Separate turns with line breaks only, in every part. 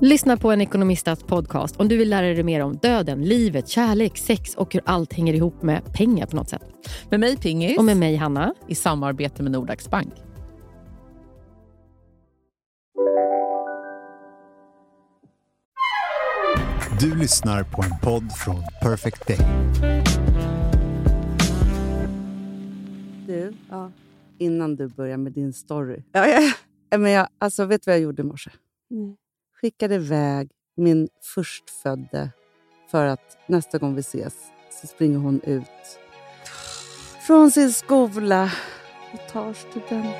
Lyssna på en ekonomistats podcast om du vill lära dig mer om döden, livet, kärlek, sex och hur allt hänger ihop med pengar på något sätt.
Med mig Pingis.
Och med mig Hanna.
I samarbete med Nordax Bank.
Du lyssnar på en podd från Perfect Day.
Du, innan du börjar med din story. Ja, ja, ja. Men jag, alltså, vet du vad jag gjorde i morse? Skickade iväg min förstfödde för att nästa gång vi ses så springer hon ut från sin skola och tar studenten.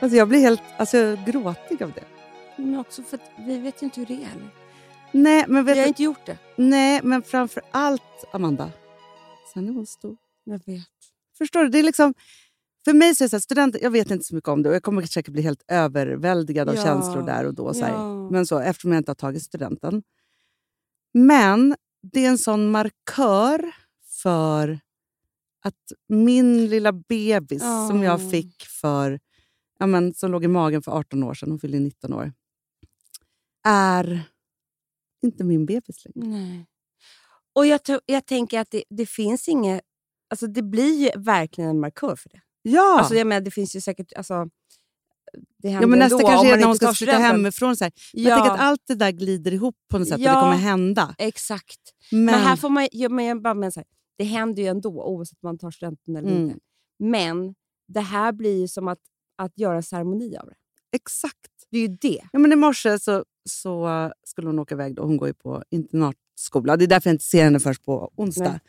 Alltså jag blir helt alltså, jag är gråtig av det.
Men också för att vi vet ju inte hur det är. nu.
Nej, men vet
Vi har
du,
inte gjort det.
nej, men framför allt, Amanda, sen är hon stor.
Jag vet.
Förstår du? Det är liksom, för mig så är det så här, studenter, jag vet inte så mycket om det och jag kommer säkert bli helt överväldigad av
Ja.
känslor där och då. Så här.
Ja.
Men så, eftersom jag inte har tagit studenten. Men det är en sån markör för att min lilla bebis
Ja.
som jag fick för, ja, men, som låg i magen för 18 år sedan, hon fyllde 19 år, är inte min bebis längre.
Nej. Och jag, tror- jag tänker att det, det finns inget... Alltså det blir ju verkligen en markör för det.
Ja!
Alltså jag menar, det finns ju säkert... Alltså, det händer
Ja, men nästa
ändå, om
kanske är
man
när
inte
hon ska
tar
flytta
studenten.
hemifrån. Så här. Men
Ja.
Jag tänker att allt det där glider ihop på något sätt och
Ja.
det kommer hända.
Exakt.
Men,
Men, här får man, ja, men jag bara menar så här, det händer ju ändå oavsett om man tar studenten eller
Mm.
inte. Men det här blir ju som att, att göra en ceremoni av det.
Exakt.
Det är ju det.
Ja, men I morse så, så skulle hon åka iväg. Då. Hon går ju på internatskola. Det är därför jag inte ser henne först på onsdag.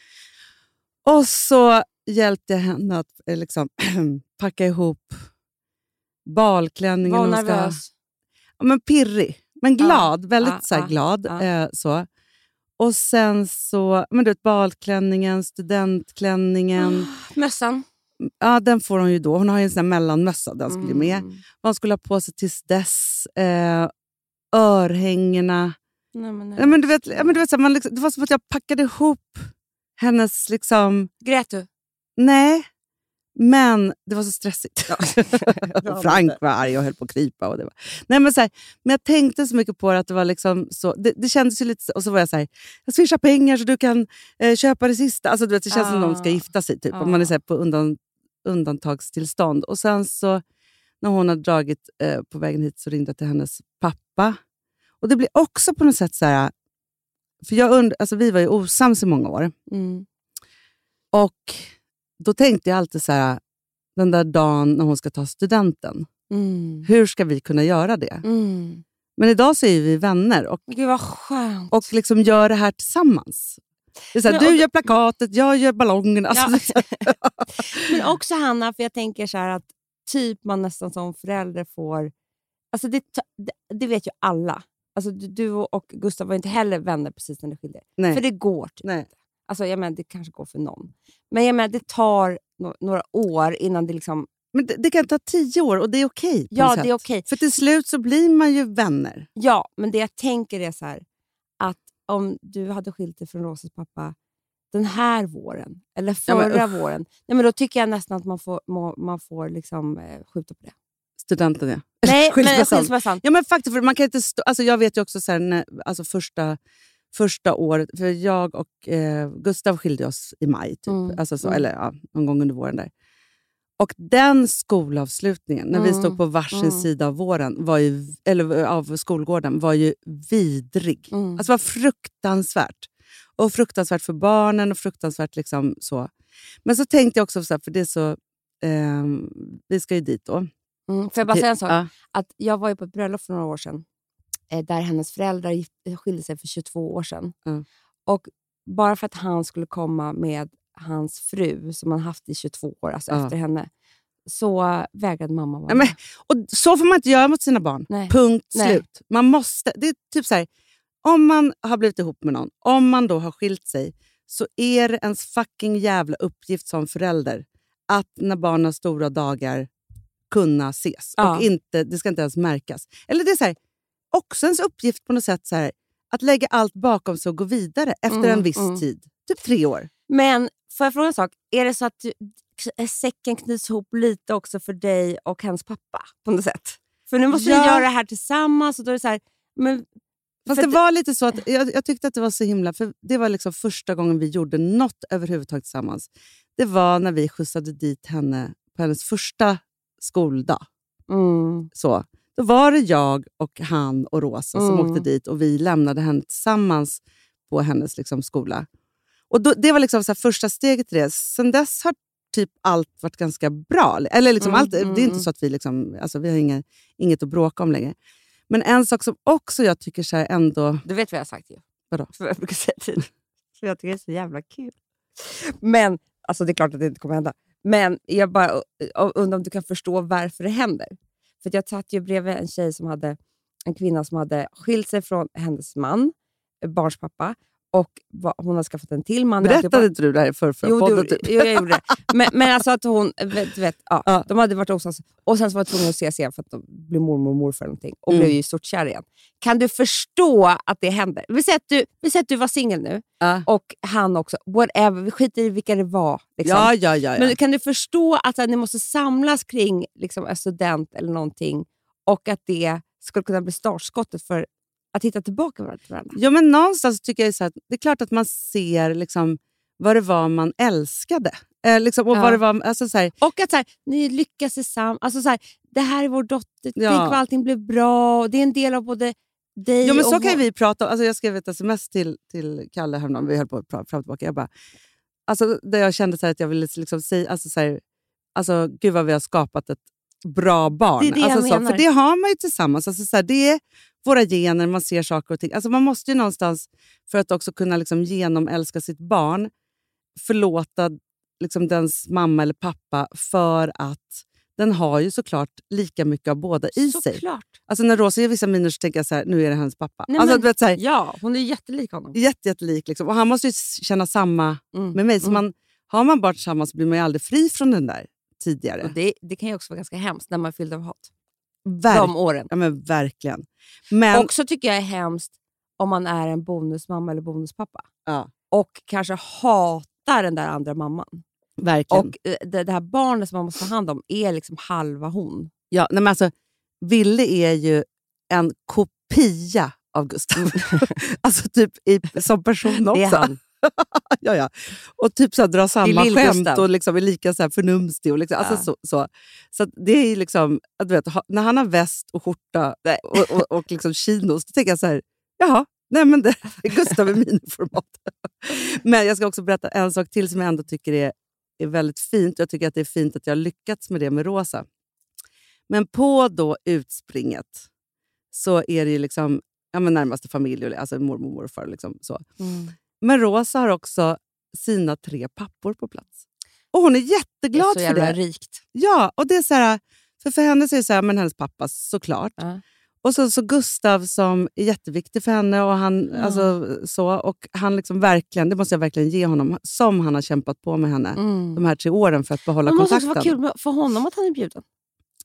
Och så hjälpte jag henne att eh, liksom, packa ihop balklänningen.
Var
hon ska ha.
nervös.
Ja, men pirrig, men
Ja.
glad. Väldigt
Ja,
så här,
ja,
glad.
ja.
Eh, så. Och sen så, men du vet, balklänningen, studentklänningen.
Mössan.
Ja, den får hon ju då. Hon har ju en sån här mellanmössa. Den skulle ju med.
Mm.
Vad hon skulle ha på sig tills dess. Eh, örhängena.
Nej, men, nej.
Ja, men du vet, ja, men du vet, så här, man liksom, det var som att jag packade ihop hennes... liksom...
Grät du?
Nej, men det var så stressigt. Och Frank var arg och höll på att krypa. Och det var. Nej, men, så här, men jag tänkte så mycket på det att det var liksom så... Det, det kändes ju lite... så- Och så var jag så här, jag swishar pengar så du kan eh, köpa det sista. Alltså, du vet, det känns som
Ah.
de ska gifta sig, typ.
Ah.
Om man är så här, på undan, undantagstillstånd. Och sen så, när hon hade dragit eh, på vägen hit så ringde jag till hennes pappa. Och det blir också på något sätt så här... För jag und- alltså, vi var ju osams i många år.
Mm.
Och då tänkte jag alltid så här, den där dagen när hon ska ta studenten,
Mm.
hur ska vi kunna göra det?
Mm.
Men idag så är ju vi vänner och,
Gud vad skönt.
och liksom gör det här tillsammans. Det är så här,
Men- och-
du gör plakatet, jag gör ballongerna. Alltså, det är så här-
Men
Mm.
också Hanna, för jag tänker så här att typ man nästan som förälder får... Alltså det, ta- det- det vet ju alla. Alltså du, du och Gustav var ju inte heller vänner precis när ni skilde er.
Nej.
För det går typ
Nej.
inte. Alltså jag menar, det kanske går för någon. Men jag menar, det tar no- några år innan det liksom...
Men det, det kan ta tio år och det är okej. på
Ja,
något
det
sätt.
är okej.
För till slut så blir man ju vänner.
Ja, men det jag tänker är så här att om du hade skilt dig från Rosas pappa den här våren, eller
Ja, men
förra
usch.
våren, nej, men då tycker jag nästan att man får, må, man får liksom, eh, skjuta på det.
Studenten, ja.
Nej, men
Skilsmässan.
skilsmässan.
Ja, men faktiskt, för man kan inte stå, alltså jag vet ju också så här, när, alltså första, första året, för jag och eh, Gustav skilde oss i maj, typ.
Mm,
Alltså så,
mm.
eller ja, någon gång under våren. där. Och den skolavslutningen, när vi
Mm,
stod på varsin
mm.
sida av, våren, var ju, eller, av skolgården, var ju vidrig.
Mm.
Alltså det var fruktansvärt. Och fruktansvärt för barnen och fruktansvärt liksom så. Men så tänkte jag också, så här, för det är så, ehm, vi ska ju dit då.
Mm, får jag bara
Till-
säga en sak?
ja.
Att jag var ju på ett bröllop för några år sedan eh, där hennes föräldrar gift, eh, skilde sig för 22 år sedan.
Mm.
Och bara för att han skulle komma med hans fru som han haft i 22 år, alltså
Ja.
efter henne, så vägrade mamma vara
Nej, men- Och så får man inte göra mot sina barn.
Nej.
Punkt
Nej.
slut. Man måste, det är typ så här, om man har blivit ihop med någon, om man då har skilt sig, så är det ens fucking jävla uppgift som förälder att när barn har stora dagar kunna ses.
Ja.
Och inte, det ska inte ens märkas. Eller det är så här, också ens uppgift på något sätt så här, att lägga allt bakom sig och gå vidare efter
Mm,
en viss
mm.
tid. Typ tre år.
Men får jag fråga en sak? Är det så att du, k- säcken knyts ihop lite också för dig och hans pappa på något sätt? För nu måste
Ja.
ni göra det här tillsammans. Och då är det så här, men,
Fast
För
det
att-
var lite så att jag, jag tyckte att det var så himla... För Det var liksom första gången vi gjorde något överhuvudtaget tillsammans. Det var när vi skjutsade dit henne på hennes första skoldag.
mm,
Så, då var det jag, och han och Rosa som
Mm.
åkte dit och vi lämnade henne tillsammans på hennes liksom, skola. Och då, Det var liksom så här första steget till det. Sen dess har typ allt varit ganska bra. Eller liksom
Mm,
allt,
mm,
det är inte
mm.
så att vi, liksom, alltså, vi har inga, inget att bråka om längre. Men en sak som också jag tycker så här ändå...
du vet vad jag har sagt ju.
Vadå?
För jag brukar säga till För jag tycker det är så jävla kul. Men, alltså det är klart att det inte kommer hända. Men jag bara uh, uh, undrar om du kan förstå varför det händer. För att jag satt ju bredvid en tjej som hade, en kvinna som hade skilt sig från hennes man, eh, barns pappa, och var, hon hade typ skaffat en till man.
Berättade inte du det här i förra förra
Jo, det
podden?
gjorde,
Typ?
jo, jag gjorde det. Men, men alltså att hon... Vet, du vet, ja,
Ja.
De hade varit osams och sen så var de tvungna att ses igen för att de blev mormor och morfar eller någonting och
Mm.
blev ju stort kär igen. Kan du förstå att det händer? Vi säger att du, vi säger att du var singel nu
Ja.
och han också. Whatever, vi skiter i vilka det var. Liksom.
Ja, ja, ja. ja.
Men kan du förstå att ni måste samlas kring liksom, en student eller någonting och att det skulle kunna bli startskottet för att hitta tillbaka varandra till varandra?
Jo, men någonstans tycker jag ju så här, att det är klart att man ser liksom, vad det var man älskade. Eh, liksom, och
Ja.
vad det var, alltså, så här,
Och att så här, ni lyckas tillsammans. Alltså så här, det här är vår dotter.
Ja.
Tänk vad allting blev bra. Och Det är en del av både dig
jo, men
och
så kan ju
vår-
vi prata om. Alltså, jag skrev ett sms till, till Kalle häromdagen, vi höll på att prata fram och tillbaka. Jag, bara, alltså, där jag kände så här, att jag ville liksom, säga, alltså, så här, alltså, gud vad vi har skapat ett bra barn.
Det är det jag
alltså, så,
menar.
För det har man ju tillsammans. Alltså, så här, det är våra gener, man ser saker och ting. Alltså, man måste ju någonstans, för att också kunna liksom, genomälska sitt barn, förlåta liksom dens mamma eller pappa för att den har ju såklart lika mycket av båda i sig.
Såklart.
Alltså när Rosa gör vissa miner så tänker jag så här, nu är det hennes pappa.
Nej,
alltså,
men-
du vet, så här,
Ja, hon är jättelik honom.
jätte, jättelik liksom. Och han måste ju känna samma
Mm.
med mig. Så
Mm.
man, har man barn tillsammans blir man ju aldrig fri från den där tidigare.
Och det, det kan ju också vara ganska hemskt när man är fylld av hat.
Verk,
De åren.
ja, men verkligen. Men,
Också tycker jag är hemskt om man är en bonusmamma eller bonuspappa
ja,
och kanske hatar den där andra mamman.
verkligen.
Och eh, det, det här barnet som man måste ta hand om är liksom halva hon.
ja, nej, men alltså, Ville är ju en kopia av Gustav. alltså typ i, som person också.
Det är han.
ja, ja. Och typ så här, dra samma
lill-Gustav.
skämt och liksom är lika så här förnumstig. Och liksom,
Ja.
alltså, så, så. så att det är ju liksom, att du vet, ha, när han har väst och skjorta och, och, och liksom chinos, då tänker jag så här, jaha, nej men det, Gustav är miniformat. men jag ska också berätta en sak till som jag ändå tycker är, är väldigt fint. Jag tycker att det är fint att jag har lyckats med det med Rosa. Men på då utspringet så är det ju liksom, ja, men närmaste familj, alltså mormor och morfar. Liksom, så.
Mm.
Men Rosa har också sina tre pappor på plats. Och hon är
Det är
jätteglad
så
för
jävla
det.
rikt.
Ja, och det är så här, för, för henne så är det så här, men hennes pappa såklart.
Ja.
Och så, så Gustav som är jätteviktig för henne. Och han,
Ja.
alltså, så, och han liksom verkligen, det måste jag verkligen ge honom, som han har kämpat på med henne
Mm.
de här tre åren för att behålla
Men Det måste också
kontakten.
vara kul med- för honom att han är bjuden.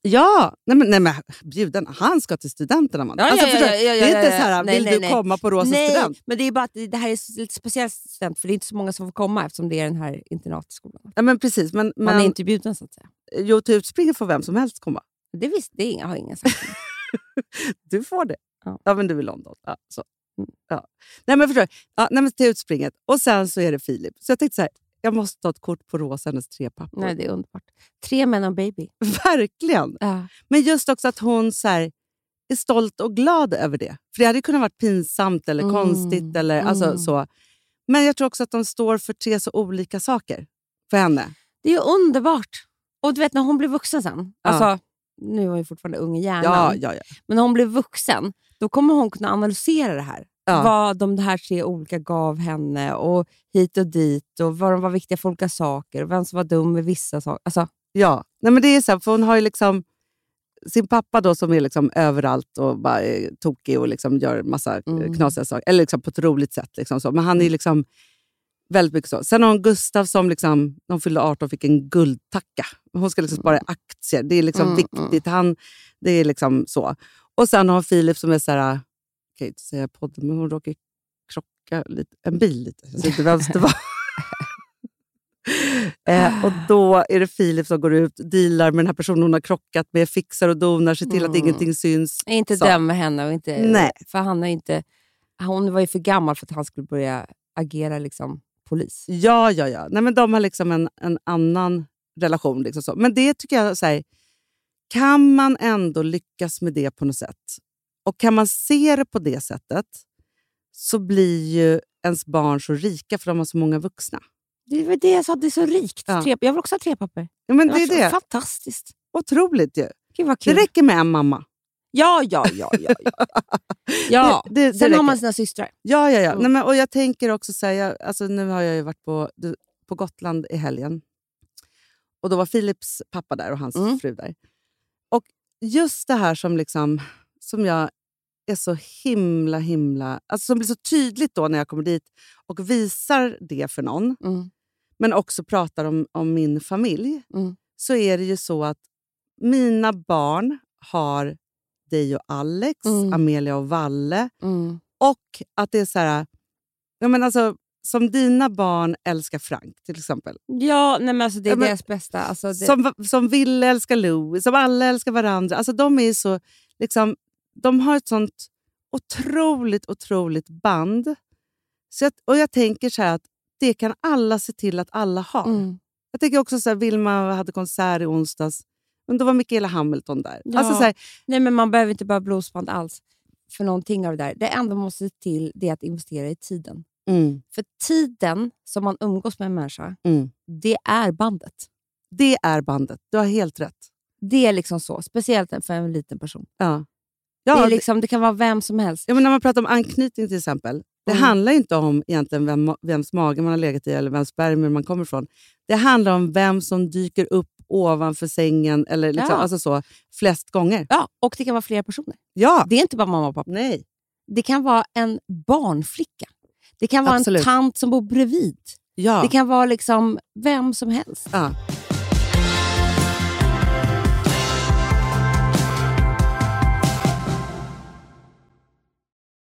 Ja, nej men, nej men bjuden, han ska till studenterna. Man.
Ja, ja,
alltså,
ja,
förstår
ja,
du?
ja,
det är
ja,
inte
ja,
så
ja.
här,
Nej,
vill
nej,
du
nej.
komma på Rosas
Nej,
student?
men det är bara att det det här är så- lite speciellt student, för det är inte så många som får komma eftersom det är den här internatskolan.
Ja, men precis. Men,
Man
men,
är inte bjuden så att säga.
Jo, till utspringet får vem som helst komma.
Det, visst, det är inga, har ingen sagt.
Du får det.
Ja. Mm.
Ja, men du är i London. Ja, så. Ja. Nej, men förstår du? ja, nej, men till utspringet. Och sen så är det Filip. Så jag tänkte så här, jag måste ta ett kort på Rosa, hennes tre pappor.
Nej, det är underbart. Tre män och en baby.
Verkligen!
Ja.
Men just också att hon så här, är stolt och glad över det. För det hade ju kunnat vara pinsamt eller
Mm.
konstigt. Eller,
Mm.
alltså, så. Men jag tror också att de står för tre så olika saker för henne.
Det är ju underbart. Och du vet när hon blir vuxen sen.
Ja.
Alltså, nu är hon ju fortfarande ung i hjärnan.
Ja, ja, ja.
Men när hon blir vuxen, då kommer hon kunna analysera det här.
Ja.
Vad de här tre olika gav henne och hit och dit och vad de var viktiga för olika saker och vem som var dum med vissa saker. Alltså,
ja. Nej, men det är så här, för hon har ju liksom sin pappa då som är liksom överallt och bara är tokig och liksom gör massa eh,
Mm.
knasiga saker. Eller liksom på ett roligt sätt. Liksom så. Men han är ju liksom väldigt mycket så. Sen har hon Gustav som liksom, när hon fyllde 18 fick en guldtacka. Hon ska liksom spara i aktier. Det är liksom
Mm, mm.
viktigt. Han, det är liksom så. Och sen har hon Filip som är så här, okej inte säga i podden, men hon råkar ju krocka lite, en bil lite. Jag vet inte vems det var. Eh, och då är det Filip som går ut, dealar med den här personen hon har krockat med, fixar och donar, ser till att
Mm.
ingenting syns.
Inte
Så.
döma henne. Och inte,
Nej.
För han har ju inte, hon var ju för gammal för att han skulle börja agera liksom, polis.
Ja, ja, ja. Nej, men de har liksom en, en annan relation. Liksom så. Men det tycker jag, så här, kan man ändå lyckas med det på något sätt? Och kan man se det på det sättet så blir ju ens barn så rika för de har så många vuxna.
Det var det jag sa, det är så rikt.
Ja.
Tre, jag vill också ha tre papper.
Ja, men det är det.
Fantastiskt.
Otroligt ju.
Gud vad
Det
kul.
räcker med en mamma.
Ja, ja, ja. ja, ja. ja.
Det, det, det
Sen har
räcker.
man sina systrar.
Ja, ja, ja.
Mm.
Nej, men, och jag tänker också säga, alltså, nu har jag ju varit på, du- på Gotland i helgen. Och då var Philips pappa där och hans
Mm.
fru där. Och just det här som, liksom, som jag är så himla, himla... Alltså som blir så tydligt då när jag kommer dit och visar det för någon,
Mm.
men också pratar om, om min familj,
Mm.
så är det ju så att mina barn har dig och Alex,
Mm.
Amelia och Valle,
Mm.
och att det är så här... Jag menar alltså, som dina barn älskar Frank, till exempel.
Ja, nej, men alltså, det är
Ja, men-
deras bästa. Alltså, det,
Som, som Ville älskar Louis, som alla älskar varandra. Alltså, de är ju så... Liksom, de har ett sånt otroligt, otroligt band. Så jag, och jag tänker så här att det kan alla se till att alla har.
mm.
Jag tänker också så här, Vilma hade konsert i onsdags. Men då var Michaela Hamilton där.
Ja.
Alltså så här,
nej, men man behöver inte bara blodsband alls för någonting av det där. Det enda man måste se till det är att investera i tiden. För tiden som man umgås med en människa,
Mm.
det är bandet.
Det är bandet. Du har helt rätt.
Det är liksom så, speciellt för en liten person.
Ja. Ja,
det, är
det-
liksom, det kan vara vem som helst.
Ja, men när man pratar om anknytning till exempel. Det
Mm.
handlar ju inte om egentligen vem, vems mage man har legat i eller vems spermier man kommer ifrån. Det handlar om vem som dyker upp ovanför sängen eller liksom,
Ja.
alltså så, flest gånger.
Ja, och det kan vara flera personer.
Ja!
Det är inte bara mamma och pappa.
Nej.
Det kan vara en barnflicka. Det kan vara
Absolut.
en tant som bor bredvid.
Ja.
Det kan vara liksom vem som helst.
ja.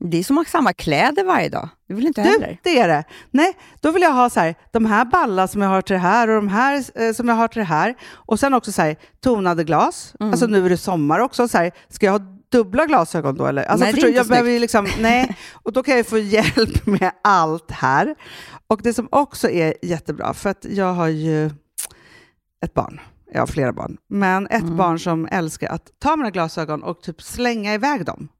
Det är som att ha samma kläder varje dag. Det vill inte jag
Du,
heller.
det är det. Nej, då vill jag ha så här, de här balla som jag har till det här och de här eh, som jag har till det här. Och sen också så här, tonade glas.
Mm.
Alltså nu är det sommar också. Så här, ska jag ha dubbla glasögon då eller? Alltså,
Nej, det är
förstår du,
inte
jag behöver ju liksom, nej. Och då kan jag ju få hjälp med allt här. Och det som också är jättebra, för att jag har ju ett barn.
Mm.
Jag har flera barn. Men ett barn som älskar att ta mina glasögon och typ slänga iväg dem.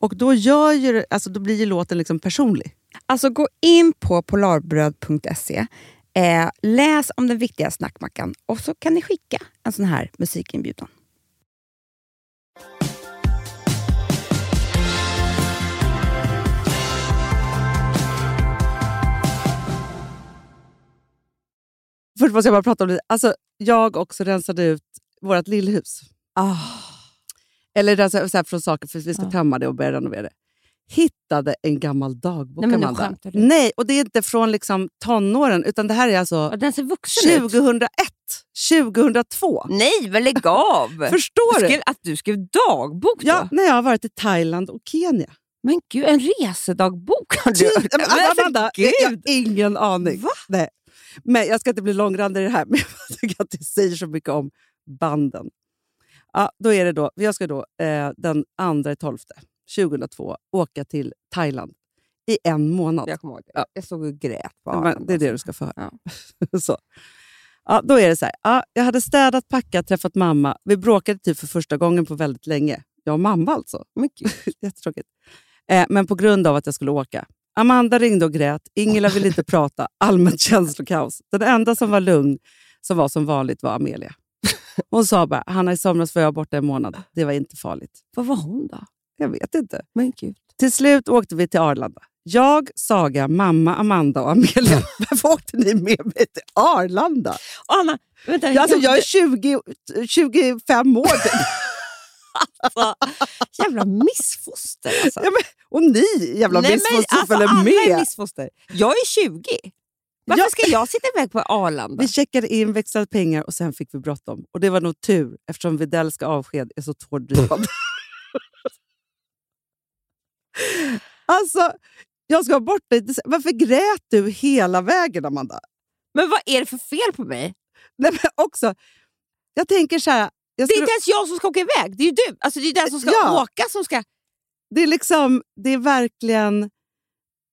Och då, gör ju, det- alltså, då blir ju låten liksom personlig.
Alltså gå in på polarbröd.se, eh, läs om den viktiga snackmackan och så kan ni skicka en sån här musikinbjudan.
Först måste jag bara prata om det. Alltså, jag också rensade ut vårt lillhus.
Ah.
Eller rensade så här från saker för att vi ska
Ja.
tömma det och börja renovera det. Hittade en gammal dagbok,
Nej, men nu
Amanda.
skämtar du.
Nej, och det är inte från liksom tonåren, utan det här är alltså
Ja, den ser vuxen ut.
2001, 2002.
Nej, men lägg av!
Förstår du?
att du skrev dagbok
Ja, när jag har varit i Thailand och Kenya.
Men gud, en resedagbok har du.
Typ. Nej, men
Men för
Amanda, jag, jag har ingen aning. Nej. Men jag ska inte bli långrandig i det här, men jag tycker att det säger så mycket om banden. Ja, då är det då, jag ska då eh, den 2 12 2002 åka till Thailand i en månad.
Jag kommer ihåg det. Jag såg och grät på
Men det är det du ska få höra.
alltså. Ja.
så. Ja, då är det så här. Ja, jag hade städat, packat, träffat mamma. Vi bråkade typ för första gången på väldigt länge. Jag och mamma alltså. Jättetråkigt. Eh, men på grund av att jag skulle åka. Amanda ringde och grät. Ingela ville inte prata. Allmänt känslokaos. Den enda som var lugn, som var som vanligt, var Amelia. Hon sa bara, Hanna i somras var jag borta en månad. Det var inte farligt.
Vad var hon då?
Jag vet inte.
Men gud.
Till slut åkte vi till Arlanda. Jag, Saga, mamma, Amanda och
Mm.
Amelia. Varför åkte ni med mig till Arlanda?
Anna, vänta.
Alltså, jag är 20, 25 år
Alltså, Jävla missfoster alltså.
Ja, och ni jävla
Nej, men,
missfoster
alltså,
följer
Alla är
med.
missfoster. Jag är 20. Varför
Ja.
ska jag sitta iväg på Arlanda?
Vi checkade in, växlade pengar och sen fick vi bråttom. Och det var nog tur eftersom Videllska avsked är så tårdrivande. alltså, jag ska bort dig. Varför grät du hela vägen, Amanda?
Men vad är det för fel på mig?
Nej, men också, jag tänker så här. Jag
Det är
skulle,
inte ens jag som ska åka iväg. Det är ju du. Alltså, det är den som ska
Ja.
åka som ska...
det, är liksom, det är verkligen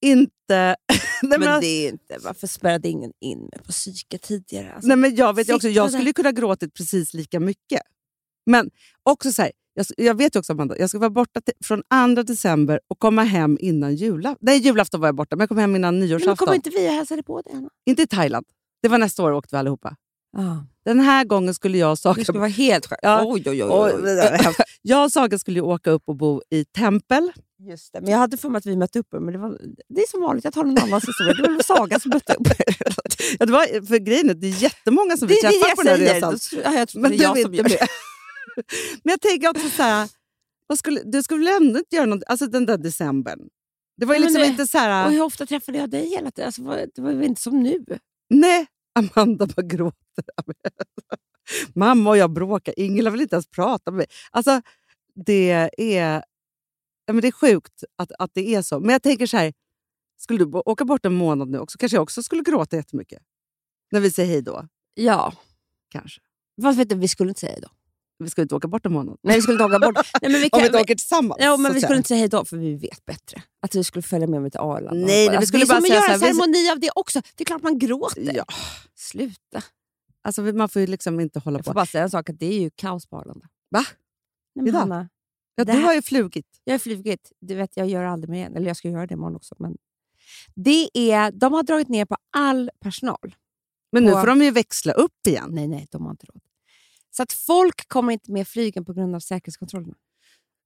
inte... Nej, men, alltså-
det är inte... Varför spärrade ingen in mig på psyke tidigare? Alltså,
Nej, men jag vet ju också,
Sitta
jag
där.
skulle ju kunna gråtit precis lika mycket. Men också så här, jag, jag vet ju också Amanda, jag ska vara borta till, från 2 december och komma hem innan julafton. Nej, julafton var jag borta, men jag kom hem innan
Nej, men
nyårsafton.
kommer
inte...
inte vi och hälsade på dig, Anna?
i Thailand. Det var nästa år åkte vi allihopa. Den här gången skulle jag och Saga...
Det skulle vara helt skönt.
Ja.
Oj, oj, oj. oj,
Oj,
oj.
det där var hemskt. jag och Saga skulle ju åka upp och bo i tempel
Just det, men jag hade för mig att vi mötte upp er, men det, var, det är som vanligt, jag tar någon annans historia. Det var Saga som mötte upp er.
Ja, det var, för grejen är, det är jättemånga som vi träffar på den här resan.
Då- Ja, jag tror
Men
det är jag
du
som
är
gör det.
med. Men jag tänker också så här, vad skulle, du skulle väl ändå inte göra något, alltså den där decembern. Det var ju
Nej, men
liksom
det-
inte så här,
Och hur ofta träffade jag dig hela tiden? Alltså, vad- det var ju inte som nu.
nej, Amanda bara gråter. Mamma och jag bråkar, Ingela vill inte ens prata med mig. Alltså, det är, ja, men det är sjukt att, att det är så. Men jag tänker så här, skulle du bo- åka bort en månad nu också, kanske jag också skulle gråta jättemycket. När vi säger hej då,
Ja,
kanske.
fast vet du, vi skulle inte säga hej då.
Vi skulle inte åka bort en månad.
Nej, vi skulle inte åka bort. Nej, men vi
Om
kan,
vi inte åker tillsammans.
Ja, men
så
vi
att
skulle
säga.
inte säga hej då, för vi vet bättre. Att vi skulle följa med mig till Arlanda.
Nej, nej, vi skulle
det är
bara
som att
säga
göra en
så här, vi-
ceremoni av det också. Det är klart man gråter.
Ja.
Sluta.
Alltså, vi- man får ju liksom inte hålla
Jag får
på.
bara säga en sak, att det är ju kaos på Arlanda.
Va?
Nej, men
Idag?
Hanna,
Ja,
det
du
här-
har ju flugit.
jag har flugit. Du vet, jag gör aldrig mer igen. Eller jag ska göra det imorgon också. Men det är, de har dragit ner på all personal.
Men nu
Och-
får de ju växla upp igen.
Nej, nej, de har inte råd. Så att folk kommer inte med flygen på grund av säkerhetskontrollerna.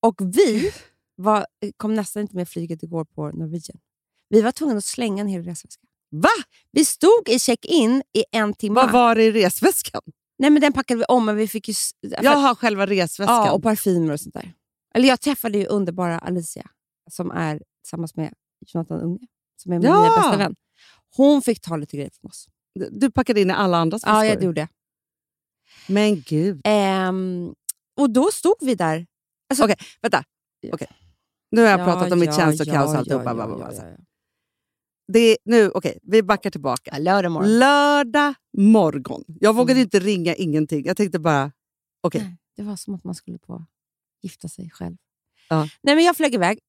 Och vi var, kom nästan inte med flyget igår på Norwegian. Vi var tvungna att slänga en hel resväska.
Va?
Vi stod i check-in i en timme.
Vad var det i resväskan?
Nej, men den packade vi om, men vi fick ju... s-
Jag har själva resväskan.
Ja, och parfymer och sånt där. Eller jag träffade ju underbara Alicia, som är tillsammans med Jonathan Unge, som är min
Ja!
nya bästa vän. Hon fick ta lite grejer från oss.
Du packade in i alla andras
Ja,
väskor.
jag gjorde det.
Men gud.
Ehm, och då stod vi där. Alltså,
Okej, vänta. Nu har jag pratat om mitt känslokaos och
ja,
alltihopa.
ja,
Ja,
ja, ja, ja.
Det är, nu, okej, vi backar tillbaka.
Lördag morgon.
Lördag morgon. Jag vågade
Mm.
inte ringa ingenting. Jag tänkte bara, okej.
Nej, Det var som att man skulle på gifta sig själv.
Ja.
Nej, men jag flög iväg.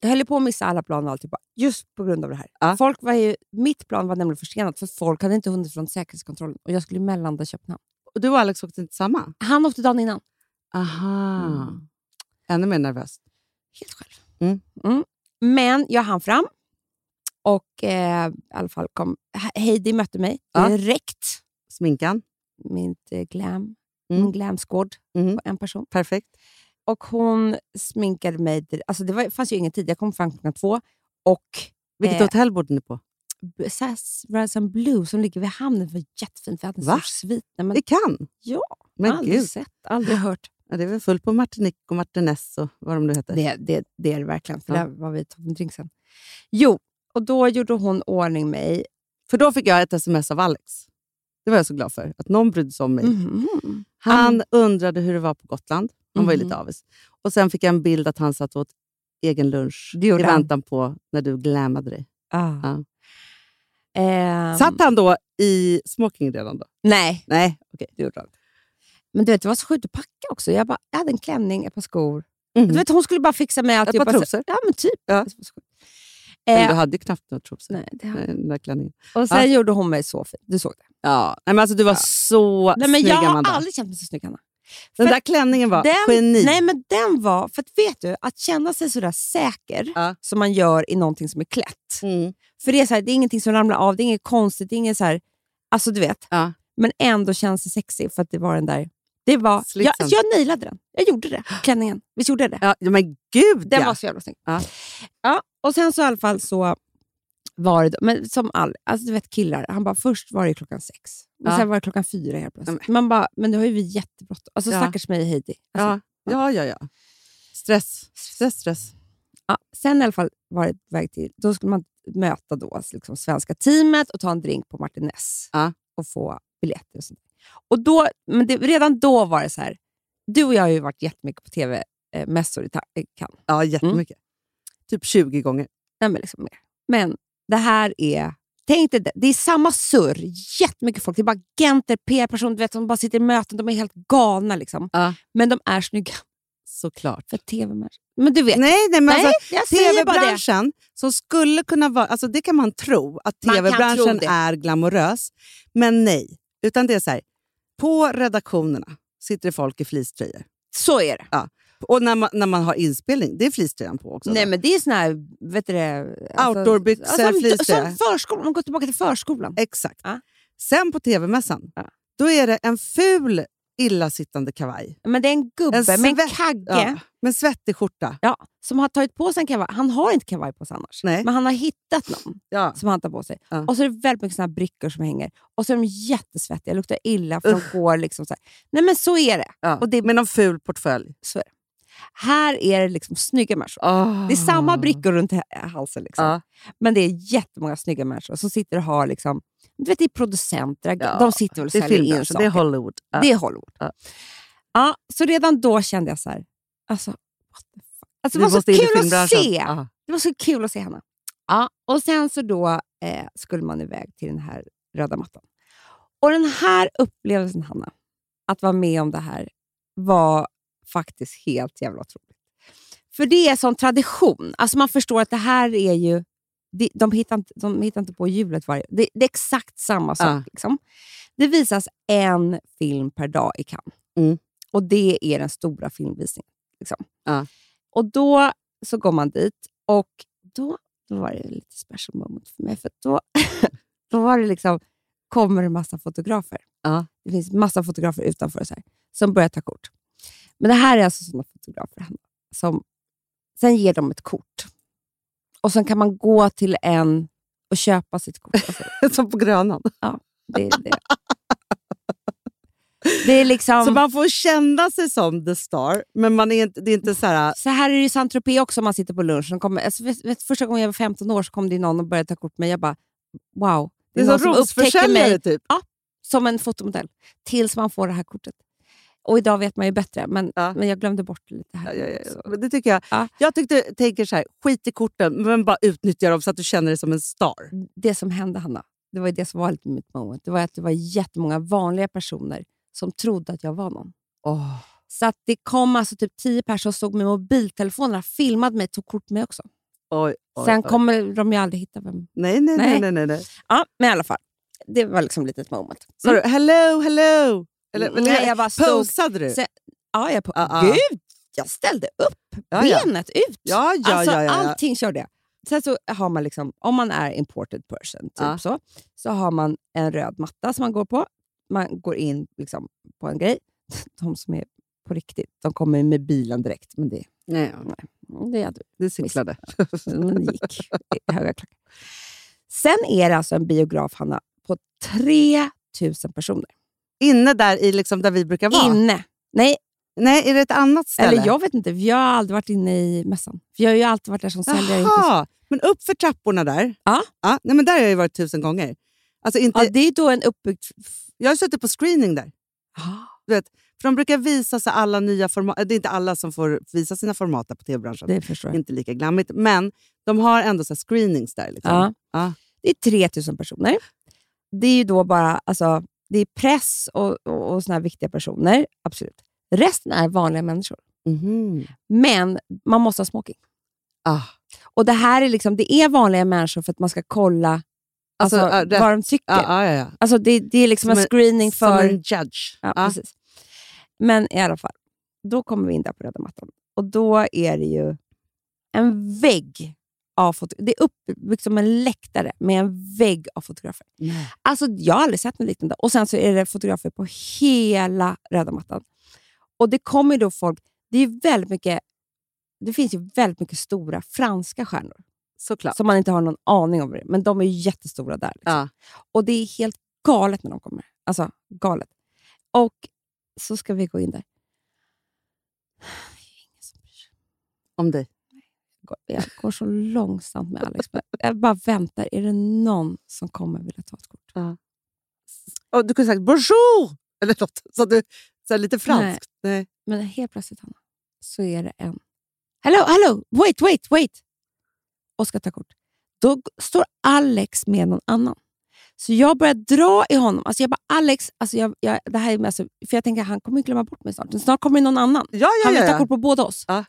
Jag höll ju på att missa alla plan och alltihopa, just på grund av det här.
Ja.
Folk var ju, mitt plan var nämligen försenat, för folk hade inte hunnit från säkerhetskontrollen och jag skulle mellanlanda i Köpenhamn.
Och Du och Alex åkte inte samma?
Han åkte dagen innan.
Aha. Ännu mer nervös.
Helt själv.
Mm.
Mm. Men jag hann fram och eh, i alla fall kom He- Heidi mötte mig
Ja.
direkt.
Sminkan?
Mitt eh, glam,
Mm.
min glam squad
Mm.
på en person.
Perfekt.
Och hon sminkade mig. dir- Alltså det var, fanns ju ingen tid. Jag kom fram klockan två och
Vilket
Eh.
hotell bodde ni på?
B- Sass Ransom Blue som ligger vid hamnen var jättefint. Vi hade en
Va?
sorts svit. Nej, men,
I Cannes?
Ja,
Men
aldrig
gud.
sett, aldrig hört.
Ja, det är väl fullt på Martinique och Martinez och vad de nu heter.
Det, det, det är det verkligen. För
Ja.
där var vi tog en drink sen. Jo, och då gjorde hon ordning mig.
För då fick jag ett sms av Alex. Det var jag så glad för. Att någon brydde sig om mig.
Mhm.
Han undrade hur det var på Gotland. Han var ju
Mhm.
lite avis. Och sen fick jag en bild att han satt och åt egen lunch
Det
i
gjorde han.
väntan på när du glammade dig.
Ah. Ehm,
Satt han då i smoking redan då?
Nej,
Nej, okej. Det gjorde han.
men du vet, det var så sjukt att packa också. Jag, bara, jag hade en klänning, ett par skor.
Mhm.
Du vet, hon skulle bara fixa med
Ett par
alltihopa.
trosor.
Ja, men typ.
Ja.
Det var så sjukt.
Men du
Eh,
hade ju knappt några trosor.
nej, det
Nej, den där klänningen.
Och sen gjorde hon mig så fin. Du såg det.
Ja. Nej, men alltså, du var
Ja.
så
Nej, men
snygg,
jag har
Amanda.
aldrig känt mig så snygg, Hanna.
Den
För
där klänningen var
den-
geni.
Nej, men den var... För att vet du, att känna sig sådär säker
Ja.
som man gör i någonting som är klätt.
Mm.
För det är, så här, det är ingenting som ramlar av, det är inget konstigt, det är inget så här, Alltså, du vet.
Ja.
Men ändå känns det sexy för att det var den där... Det var, jag,
Slitsen.
alltså, jag nailade den. Jag gjorde det. Klänningen. Visst gjorde jag det?
Ja, ja, men gud
Den
ja.
var så jävla snygg.
Ja.
Ja, och sen så i alla fall så var det, då- men som all, alltså du vet killar, han bara först var det klockan sex, men
Ja.
sen var det klockan fyra helt plötsligt. Man bara, men nu har ju vi jättebråttom. Alltså
Ja.
stackars mig och Heidi. Alltså,
Ja, ja, ja, ja. Stress, stress, stress.
Ja, sen i alla fall var det på väg till, då skulle man möta då, alltså liksom svenska teamet och ta en drink på Martinez
Ja.
och få biljetter och sånt. Och då, men det, redan då var det så här, du och jag har ju varit jättemycket på tv-mässor i Ta- i Cannes.
Ja, jättemycket. Typ 20 gånger.
Nej, men, liksom mer. men det här är, tänk dig det, det är samma surr, jättemycket folk. Det är bara agenter, PR-personer, du vet, som bara sitter i möten, de är helt galna liksom.
Ja.
Men de är snygga
Såklart.
för tv-mässor. Men du vet,
Nej, nej, men
Nej,
alltså,
jag säger bara det.
TV-branschen, som skulle kunna vara... Alltså det kan man tro, att
Man kan tro
TV-branschen
det.
är glamorös. Men nej. Utan det är så här, på redaktionerna sitter det folk i fleecetröjor.
Så är det.
Och när man, när man har inspelning, det är fleecetröjan på också.
Nej,
då. eh,
men det är såna här... Vet du det, alltså-
Outdoorbyxor,
som,
fleecetröja.
som förskolan, man går tillbaka till förskolan.
Exakt.
Ja.
Sen på TV-mässan,
Ja.
då är det en ful illasittande kavaj.
Men det är en gubbe med en
svett-
kagge
Ja, med en svettig skjorta.
ja, som har tagit på sig en kavaj. Han har inte kavaj på sig annars,
Nej.
men han har hittat någon
Ja.
som han tar på sig.
Ja.
Och så är det väldigt mycket såna här brickor som hänger. Och så är de jättesvettiga, luktar illa för de går liksom så här. Nej men så är det.
Ja.
Och det är-
Med någon ful portfölj.
Så är det. Här är det liksom snygga människor.
Ah.
Det är samma brickor runt he- halsen. Liksom.
Ja.
Men det är jättemånga snygga människor som sitter och har... Liksom, du vet, det är producenter,
Ja,
de sitter väl och
Det är
säljer in
filmbranschen,
saker.
det är Hollywood. Ja.
Det är Hollywood.
Ja.
Ja, så redan då kände jag så här... Alltså, what the fuck? Alltså,
Vi
det var så
måste in i
kul att
filmbranschen.
se!
Ja.
Det var så kul att se henne. Ja, och sen så då eh, skulle man iväg till den här röda mattan. Och den här upplevelsen, Hanna, att vara med om det här var faktiskt helt jävla otroligt. För det är en sån tradition. Alltså man förstår att det här är ju... De, de, hittar, inte, de hittar inte på hjulet varje... Det, det är exakt samma sak.
Ja.
Liksom. Det visas en film per dag i Cannes.
Mm.
Och det är den stora filmvisningen. Liksom.
Ja.
Och då så går man dit och då, då var det lite special moment för mig. För att då, då var det liksom, kommer en massa fotografer.
Ja.
Det finns massa fotografer utanför och så här, som börjar ta kort. Men det här är alltså sådana fotografer Hanna, som sen ger dem ett kort. Och sen kan man gå till en och köpa sitt kort. Alltså,
Som på Grönan.
det, är det. det är liksom...
Så man får känna sig som the star, men man är inte, det är inte så här...
Så här är det i Saint-Tropez också om man sitter på lunchen. Kommer, alltså, vet, vet, första gången jag var 15 år så kom det någon och började ta kort med mig. Jag bara, wow.
Det är
någon
som rosförsäljare
mig
typ.
som en fotomodell. Tills man får det här kortet. Och idag vet man ju bättre, men,
Ja.
men jag glömde bort lite här.
Ja, ja, ja.
Så.
Men det tycker jag.
Ja.
Jag tyckte, tänker så här, skit i korten, men bara utnyttja dem så att du känner dig som en star.
Det som hände, Hanna, det var ju det som var lite mitt moment. Det var att det var jättemånga vanliga personer som trodde att jag var någon. Så att det kom alltså typ 10 personer som stod med mobiltelefonerna, filmade mig, tog kort med mig också.
Oj, oj,
Sen
oj.
kommer de ju aldrig hitta vem
Nej, nej, nej. Mm.
Nej.
nej, nej, nej.
Ja, men i alla fall. Det var liksom lite ett moment.
Sa du hello, hello? Eller, eller,
Nej, jag bara stod...
posade du?
Se- Ja, jag på...
Ja, ja.
Gud, jag ställde upp
Ja, ja.
benet ut.
Ja, ja,
alltså,
ja, ja, ja.
allting körde jag. Sen så har man liksom, om man är imported person, typ
Ja.
så, så har man en röd matta som man går på. Man går in liksom på en grej. De som är på riktigt, de kommer med bilen direkt. Men det, mm,
Nej,
det hade
det cyklade.
men det gick i höga klackar. Sen är det alltså en biograf, Hanna, på 3000 personer.
Inne där, i liksom där vi brukar vara?
Inne. Nej,
Nej, är det ett annat ställe?
eller jag vet inte. Jag har aldrig varit inne i mässan. För jag har ju alltid varit där som säljare. inte som-
Jaha, men upp för trapporna där?
Ja.
ja nej, men där har jag ju varit tusen gånger. Alltså inte,
Ja, det är då en uppbyggd...
Jag har suttit på screening där.
Ja.
Du vet, för de brukar visa sig alla nya format. Det är inte alla som får visa sina format där på tv-branschen.
Det förstår jag.
Inte lika glammigt, men de har ändå så här screenings där. Liksom.
Ja.
Ja.
Det är 3000 personer. Det är ju då bara alltså, det är press och, och, och såna här viktiga personer. Absolut. Resten är vanliga människor.
Mhm.
Men man måste ha smoking.
Ah.
Och det här är liksom, det är vanliga människor för att man ska kolla
Alltså,
alltså,
ja, rätt-
vad de tycker.
Ja, ja, ja.
Alltså, det, det är liksom
Som
en
en-
screening för...
Som en judge.
Ja,
Ja.
precis. Men i alla fall, då kommer vi in där på röda mattan. Och då är det ju en vägg av fotografer. Det är uppbyggt som en läktare med en vägg av fotografer. Alltså, jag har aldrig sett något liknande. Och sen så är det fotografer på hela röda mattan. Och det kommer ju då folk... Det är ju väldigt mycket... Det finns ju väldigt mycket stora franska stjärnor
Såklart.
som man inte har någon aning om. vad det är. Men de är ju jättestora där. Liksom.
Ja.
Och det är helt galet när de kommer. Alltså, galet. Och så ska vi gå in där. Ingen som bryr sig.
Om dig.
Går- Jag går så långsamt med Alex. Jag bara väntar. Är det någon som kommer vilja ta ett kort?
Och du kunde sagt bonjour! Eller något. Så att du, så här lite franskt. Nej.
Men helt plötsligt, Hanna, så är det en... Hello, hello! Wait, wait, wait! Och ska ta kort. Då g- står Alex med någon annan. Så jag börjar dra i honom. Alltså jag bara, Alex, alltså jag, jag, det här är alltså, för jag tänker han kommer ju glömma bort mig snart. Snart kommer det någon annan.
Ja, ja,
Han vill
ja,
ta
ja.
kort på båda oss.
Ja.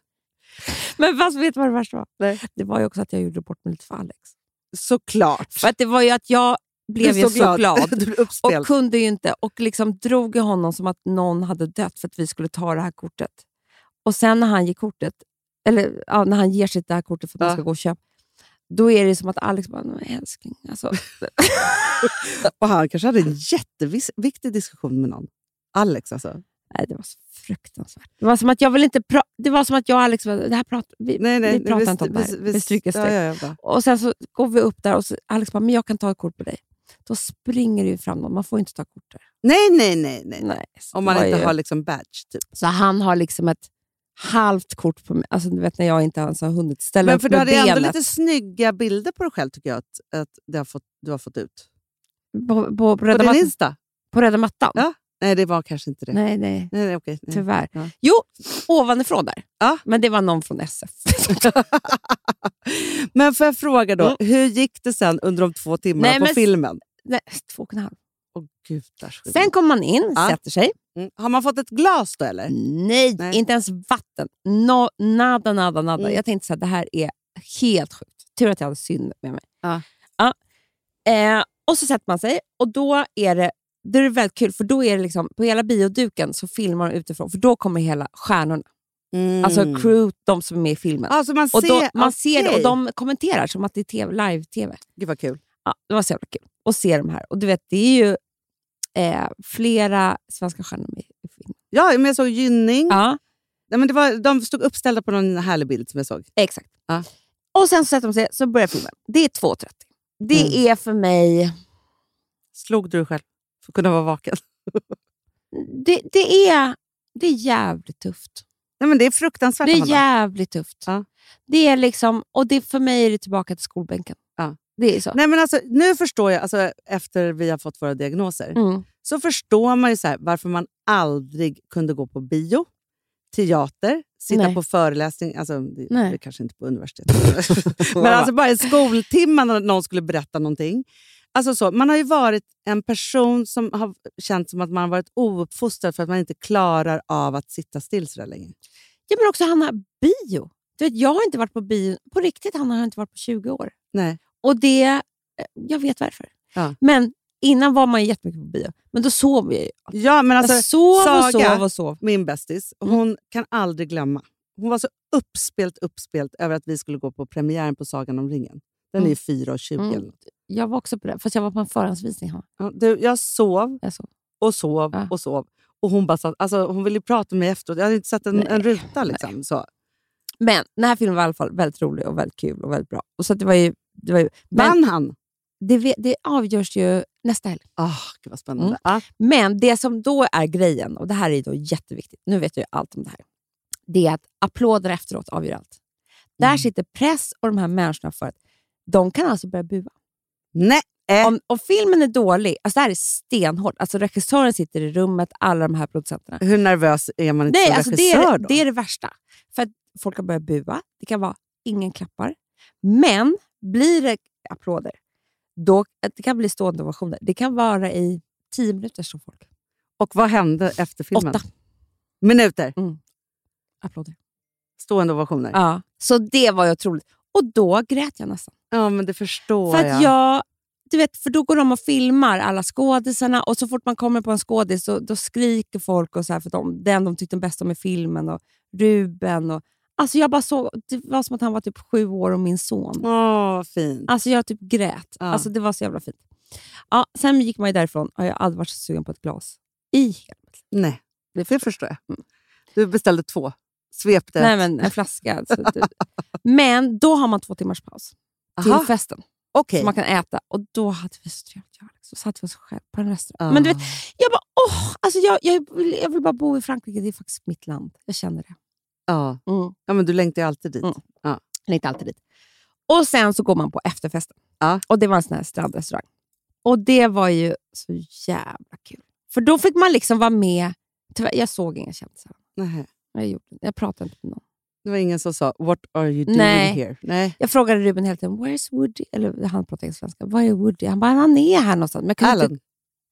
Men fast, vet du vad det värsta var?
Nej.
Det var ju också att jag gjorde bort mig lite för Alex.
Såklart.
För att det var ju att jag blev
Du
ju
är
så glad.
du blev
och
uppspelt.
kunde ju inte och liksom drog i honom som att någon hade dött för att vi skulle ta det här kortet. Och sen när han ger kortet, eller ja, när han ger sitt det här kortet för att
Ja.
man ska gå och köpa, då är det som att Alex bara, "Men älskling, alltså,
Och han kanske hade en jätteviktig diskussion med någon. Alex alltså.
Nej, det var så fruktansvärt. Det var som att jag vill inte pra- Det var som att jag och Alex var, det här pratar vi,
Nej, nej.
vi pratar inte om det här. Vi, stryker ett streck. Och sen så går vi upp där och så, Alex bara, men jag kan ta ett kort på dig. Då springer det ju fram någon, man får ju inte ta kort där.
Nej, nej, nej. nej.
Nej, så
Om
det
man
var
inte
ju-
har liksom badge. Typ.
Så han har liksom ett halvt kort på mig. Alltså du vet när jag inte ens har hunnit ställa
Men
upp
för du
med
hade
benet.
ändå lite snygga bilder på dig själv tycker jag att, att det har fått, du har fått ut.
På, på, på,
På
röda
din
mattan,
Insta?
på röda mattan?
Ja. Nej, det var kanske inte det. Nej,
Nej, Typ. nej.
nej, okej. nej.
Tyvärr.
Ja.
Jo, ovanifrån där.
Ja.
Men det var någon från SF.
Men får jag fråga då, hur gick det sen under de två timmarna
Mm. Nej,
på
men-
filmen?
nej, två och en halv.
Åh, gudars skillnad.
Sen kommer man in,
Ja.
sätter sig.
Mm. Har man fått ett glas då eller?
Nej,
Nej.
inte ens vatten. No, nada, nada, nada.
Mm.
Jag tänkte så här, det här är helt sjukt. Tur att jag hade synd med mig.
Ja.
Ja. Eh, och så sätter man sig och då är det, det är väldigt kul för då är det liksom, på hela bioduken så filmar de utifrån för då kommer hela stjärnorna. Alltså crew, de som är med i filmen.
Ja, så man ser,
och då, man ser det och
Mm. Ah, okej.
de kommenterar som att det är TV, live-tv.
Gud vad kul.
Ja, det var så jävla kul att se de här. Och du vet, det är ju eh, flera svenska stjärnor med i filmen.
Ja, men jag såg Gynning.
Ja,
Nej, men det var, de stod uppställda på någon härlig bild som jag såg.
exakt.
Ja.
Och sen så sätter de sig, så börjar filmen. Det är 2.30. Det
Mm.
är för mig...
Slog du dig själv för att kunna vara vaken?
Det, det, är, det är jävligt tufft.
Nej, men det är fruktansvärt.
Det är
Amanda.
jävligt tufft.
Ja.
Det är liksom, och det, för mig är det tillbaka till skolbänken.
Ja.
Det är så.
Nej, men alltså, nu förstår jag, alltså, efter vi har fått våra diagnoser,
Mm.
så förstår man ju så här, varför man aldrig kunde gå på bio, teater, sitta
Nej.
på föreläsning. Alltså, det,
Nej.
det kanske inte på universitetet. men alltså bara i skoltimmen när någon skulle berätta någonting. Alltså så, man har ju varit en person som har känt som att man har varit ouppfostrad för att man inte klarar av att sitta still så där länge.
Ja, men också Hanna, bio. Du vet, jag har inte varit på bio, på riktigt Hanna har jag inte varit på 20 år.
Nej.
Och det, eh, jag vet varför.
Ja.
Men innan var man ju jättemycket på bio, men då sov jag ju.
Ja, men alltså,
jag sov
Saga-
och sov och sov.
min bästis,
Mm.
hon kan aldrig glömma. Hon var så uppspelt, uppspelt över att vi skulle gå på premiären på Sagan om ringen. Den är
Mm.
ju 4.20
Mm.
eller något.
Jag var också på det, fast jag var på en förhandsvisning. Hanna.
Ja, du, jag sov
Jag sov.
och sov
Ja.
och sov. Och hon, bara satt, alltså, hon ville ju prata med mig efteråt. Jag hade inte sett en,
Nej,
en ruta. Liksom, så.
Men den här filmen var i alla fall väldigt rolig och väldigt kul och väldigt bra. Och så att det var ju, det var ju, men
Vann han?
det, ve- det avgörs ju nästa helg.
Oh, gud vad spännande.
Mm.
Ja.
Men det som då är grejen, och det här är ju då jätteviktigt, nu vet jag ju allt om det här, det är att applåder efteråt avgör allt. Där sitter press och de här människorna för att de kan alltså börja bua.
Nej, Äh.
Om, om filmen är dålig, alltså det här är stenhårt, alltså regissören sitter i rummet, alla de här producenterna.
hur nervös är man inte
Nej,
som
alltså det,
regissör
är,
då?
det är det värsta. För att folk har börjat bua, det kan vara ingen klappar. Men blir det applåder, då, det kan bli stående ovationer. Det kan vara i tio minuter som folk.
Och vad hände efter filmen?
Åtta
Minuter,
applåder.
stående ovationer. Ja,
Ja. Så det var ju otroligt. Och då grät jag nästan.
men det förstår
För att
jag.
jag, du vet, för då går de och filmar alla skådisarna och så fort man kommer på en skådis så, då skriker folk och så här för de, den de tyckte bäst om i filmen och Ruben. Och, alltså jag bara såg, det var som att han var typ sju år och min son.
Åh, vad fint.
Alltså jag typ grät.
Ja.
Alltså det var så jävla fint. Ja, sen gick man ju därifrån och jag har aldrig varit så sugen på ett glas. I.
Nej, det förstår jag. Du beställde två. Svepte.
Mm. Nej men en flaska. Alltså, det- men då har man två timmars paus till
Aha,
festen.
okej.
som man kan äta. Och då hade vi så trevligt, jag och Alex. Så satt vi oss själv på en restaurang.
Ah.
Men du vet, jag bara, åh! Alltså jag, jag, vill, jag vill bara bo i Frankrike, det är faktiskt mitt land. Jag känner det.
ja.
Mm.
ja, men du längtar ju alltid dit.
Mm. Eller inte alltid dit. Och sen så går man på efterfesten.
Ja.
Och det var en sån här strandrestaurang. Och det var ju så jävla kul. För då fick man liksom vara med. Tyvärr, jag såg inga kändisar.
Nej.
Jag, gjorde, jag pratade inte med någon.
Det var ingen som sa “What are you doing
Nej.
here?” Nej.
Jag frågade Ruben hela tiden, where's Woody? Eller han pratade inte svenska. Var är Woody? Han bara, han är här någonstans. Men jag kunde
Alan.
inte-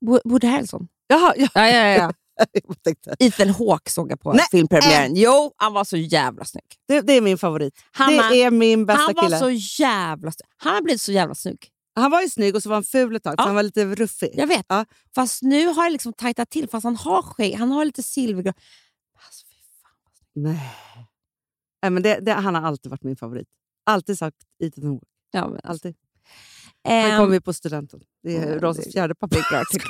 Wo- Woody Harrelson.
Jaha, ja.
Ja, ja, ja.
jag tänkte.
Ethan Hawke såg jag på
Nej. eh.
filmpremiären. Jo, han var så jävla snygg.
Det, det är min favorit.
Han, var-
det är min bästa
han var
kille.
så jävla snygg. Han har blivit så jävla snygg.
Han var ju snygg och så var han ful ett tag, för
Ja.
han var lite ruffig.
Jag vet.
Ja.
Fast nu har jag liksom tajtat till. Fast han har skägg, han har lite silvergrå. Alltså, fy fan.
Nej. Nej, men det, det, han har alltid varit min favorit. Alltid sagt Ethan Hawke.
Ja, men,
Alltid. Han
Ehm,
kom ju på studenten. Det är
Mm,
Rosas
det-
fjärde papper.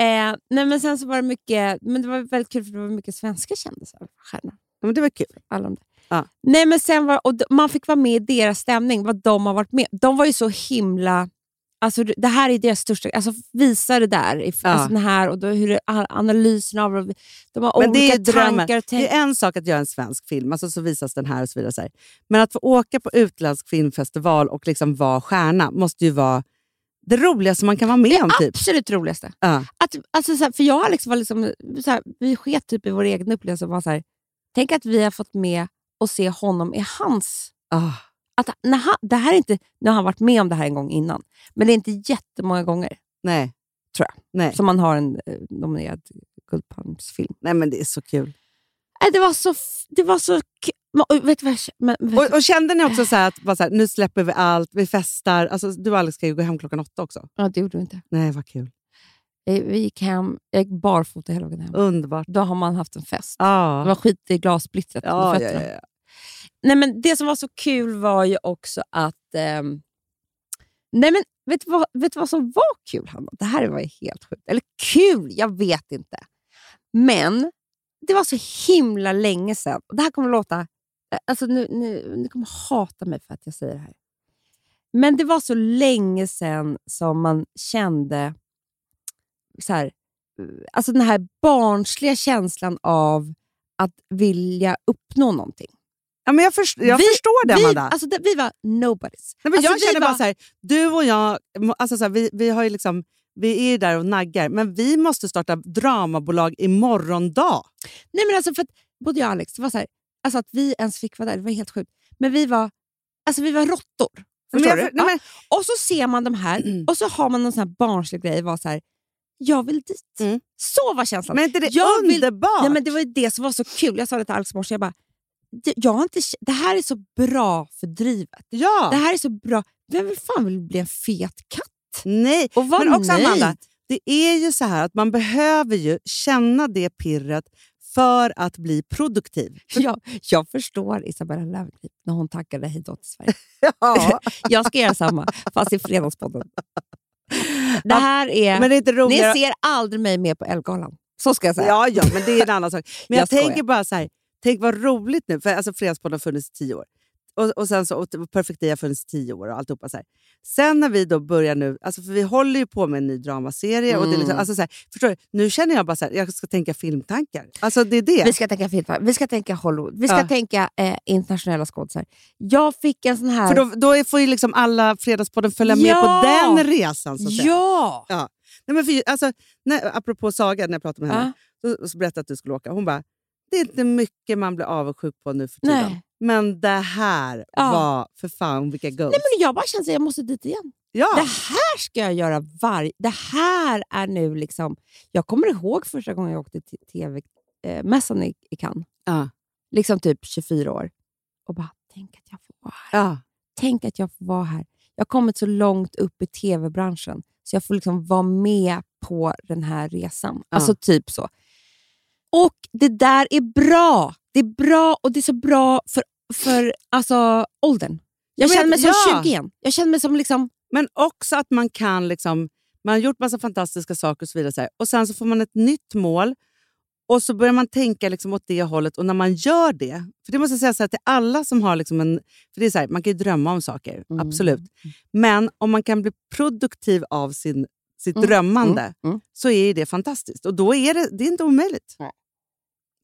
eh, nej, men sen så var det mycket, men det var väldigt kul för det var mycket svenska kändisar. Stjärnor.
Ja, men det var kul.
alla de där.
Ja.
Nej, men sen var, och d- man fick vara med i deras stämning, vad de har varit med De var ju så himla... Alltså, det här är deras största... Alltså, visa det där, i-
Ja.
alltså, den här och då, hur det- all- analysen av det. De har
Men det är
olika
ju drömmen.
tankar och
Det är
tänk.
en sak att göra en svensk film, alltså så visas den här och så vidare. Så här. Men att få åka på utländsk filmfestival och liksom vara stjärna måste ju vara det roligaste man kan vara med om. Typ.
Absolut roligaste.
Ja.
Att, alltså, så här, för jag har liksom, var liksom så här, vi sket typ i våra egna upplevelser och var så här, tänk att vi har fått med och se honom i hans...
Ah.
Att när han, det här är inte, nu har han varit med om det här en gång innan, men det är inte jättemånga gånger
Nej.
Tror
jag. Nej.
som man har en eh, nominerad Guldpalmsfilm.
Nej, men det är så kul.
Nej, det var så... f- Det var så k- men, och vet du vad jag känner? Men, vet du-
Och, och kände ni också så här att bara så här, nu släpper vi allt, vi festar. Alltså, du och Alex ska ju gå hem klockan åtta också.
ja, det gjorde vi inte.
Nej, vad kul.
Eh, Vi gick hem, jag gick barfota hela vägen hem.
Underbart.
Då har man haft en fest. Det
Ah.
var skit i glassplittret under
Ja, ja,
fötterna.
ja, ja.
Nej, men Det som var så kul var ju också att... ehm, nej, men vet du, vad, vet du vad som var kul, Hanna? Det här var ju helt sjukt. Eller kul, jag vet inte. Men det var så himla länge sedan. Och Det här kommer låta... Alltså, nu, nu, ni kommer hata mig för att jag säger det här. Men det var så länge sedan som man kände så här, eh, alltså den här barnsliga känslan av att vilja uppnå någonting
ja men jag, först, jag
Vi-
förstår det,
vi,
Amanda.
alltså, det, vi var nobodies.
Nej, men
alltså,
jag
vi
känner
var,
bara så här, du och jag, må- alltså så här, vi, vi, har ju liksom, vi är ju där och naggar, men vi måste starta dramabolag imorgon dag.
Nej, men alltså, för att, både jag och Alex, det var så här, alltså, att vi ens fick vara där, det var helt sjukt. Men vi var, alltså, vi var råttor.
Men jag
Förstår du?
för- nej, men-
Ja, och så ser man de här och så har man någon sån här barnslig grej. Var så här, jag vill dit.
Mm.
Så var känslan.
Men är inte det
Jag vill-
underbart?
Nej, men det var ju det som var så kul. Jag sa det till Alex i morse. Jag bara, "Det- jag har inte, k- det här är så bra för drivet.
ja.
Det här är så bra. Vem vill fan vill bli en fet katt?
Nej.
Och var
Men också,
nöjd.
Amanda, det är ju så här att man behöver ju känna det pirret för att bli produktiv.
Jag, jag förstår Isabella Löwengrip när hon tackade hej då till Sverige.
Ja.
Jag ska göra samma, fast i Fredagspodden. Det här är...
men det är inte
ni
roligare...
ser aldrig mig med på Ellegalan. Så ska jag säga.
Ja, ja, men det är en annan sak. Men jag,
Jag skojar.
tänker bara så här, tänk vad roligt nu, för alltså Fredagspodden har funnits i tio år. Och, och sen så, och Perfect Day har funnits i tio år och alltihopa. Så här. Sen när vi då börjar nu, alltså för vi håller ju på med en ny dramaserie. Och det är liksom,
Mm.
alltså så här, förstår du? Nu känner jag bara så här, jag ska tänka filmtankar. Alltså det är det.
Vi ska tänka filmar, vi ska tänka Hollywood, vi ska
Ja.
tänka eh, internationella skådisar. Jag fick en sån här...
För då, då får ju liksom alla Fredagspodden följa med
Ja!
på den resan. Så att säga.
ja!
Nej, men för, alltså, när, apropå Saga, när jag pratade med henne, så, så berättade jag att du skulle åka. Hon bara, det är inte mycket man blir avundsjuk på nu för tiden.
Nej.
Men det här
Ja.
var för fan vilka goals.
Nej, men jag bara känner att jag måste dit igen. Det
ja.
här ska jag göra varje... Det här är nu liksom... Jag kommer ihåg första gången jag åkte till TV-mässan i, i Cannes.
Ja.
Liksom typ 24 år. Och bara, tänk att jag får vara här.
Ja.
tänk att jag får vara här. Jag har kommit så långt upp i tv-branschen, så jag får liksom vara med på den här resan.
Ja.
Alltså typ så. Och det där är bra. Det är bra och det är så bra för, för alltså, åldern. Jag,
Jag vet,
känner mig som
ja.
20 igen. Jag känner mig som liksom...
Men också att man kan, liksom, man har gjort massa fantastiska saker och så vidare. Så här. Och sen så får man ett nytt mål och så börjar man tänka liksom åt det hållet. Och när man gör det, för det måste jag säga så här, till alla som har liksom en... För det är så här, man kan ju drömma om saker,
Mm.
absolut. Men om man kan bli produktiv av sin, sitt
Mm,
drömmande
mm.
så är ju det fantastiskt. Och då är det, det är inte omöjligt.
Nej.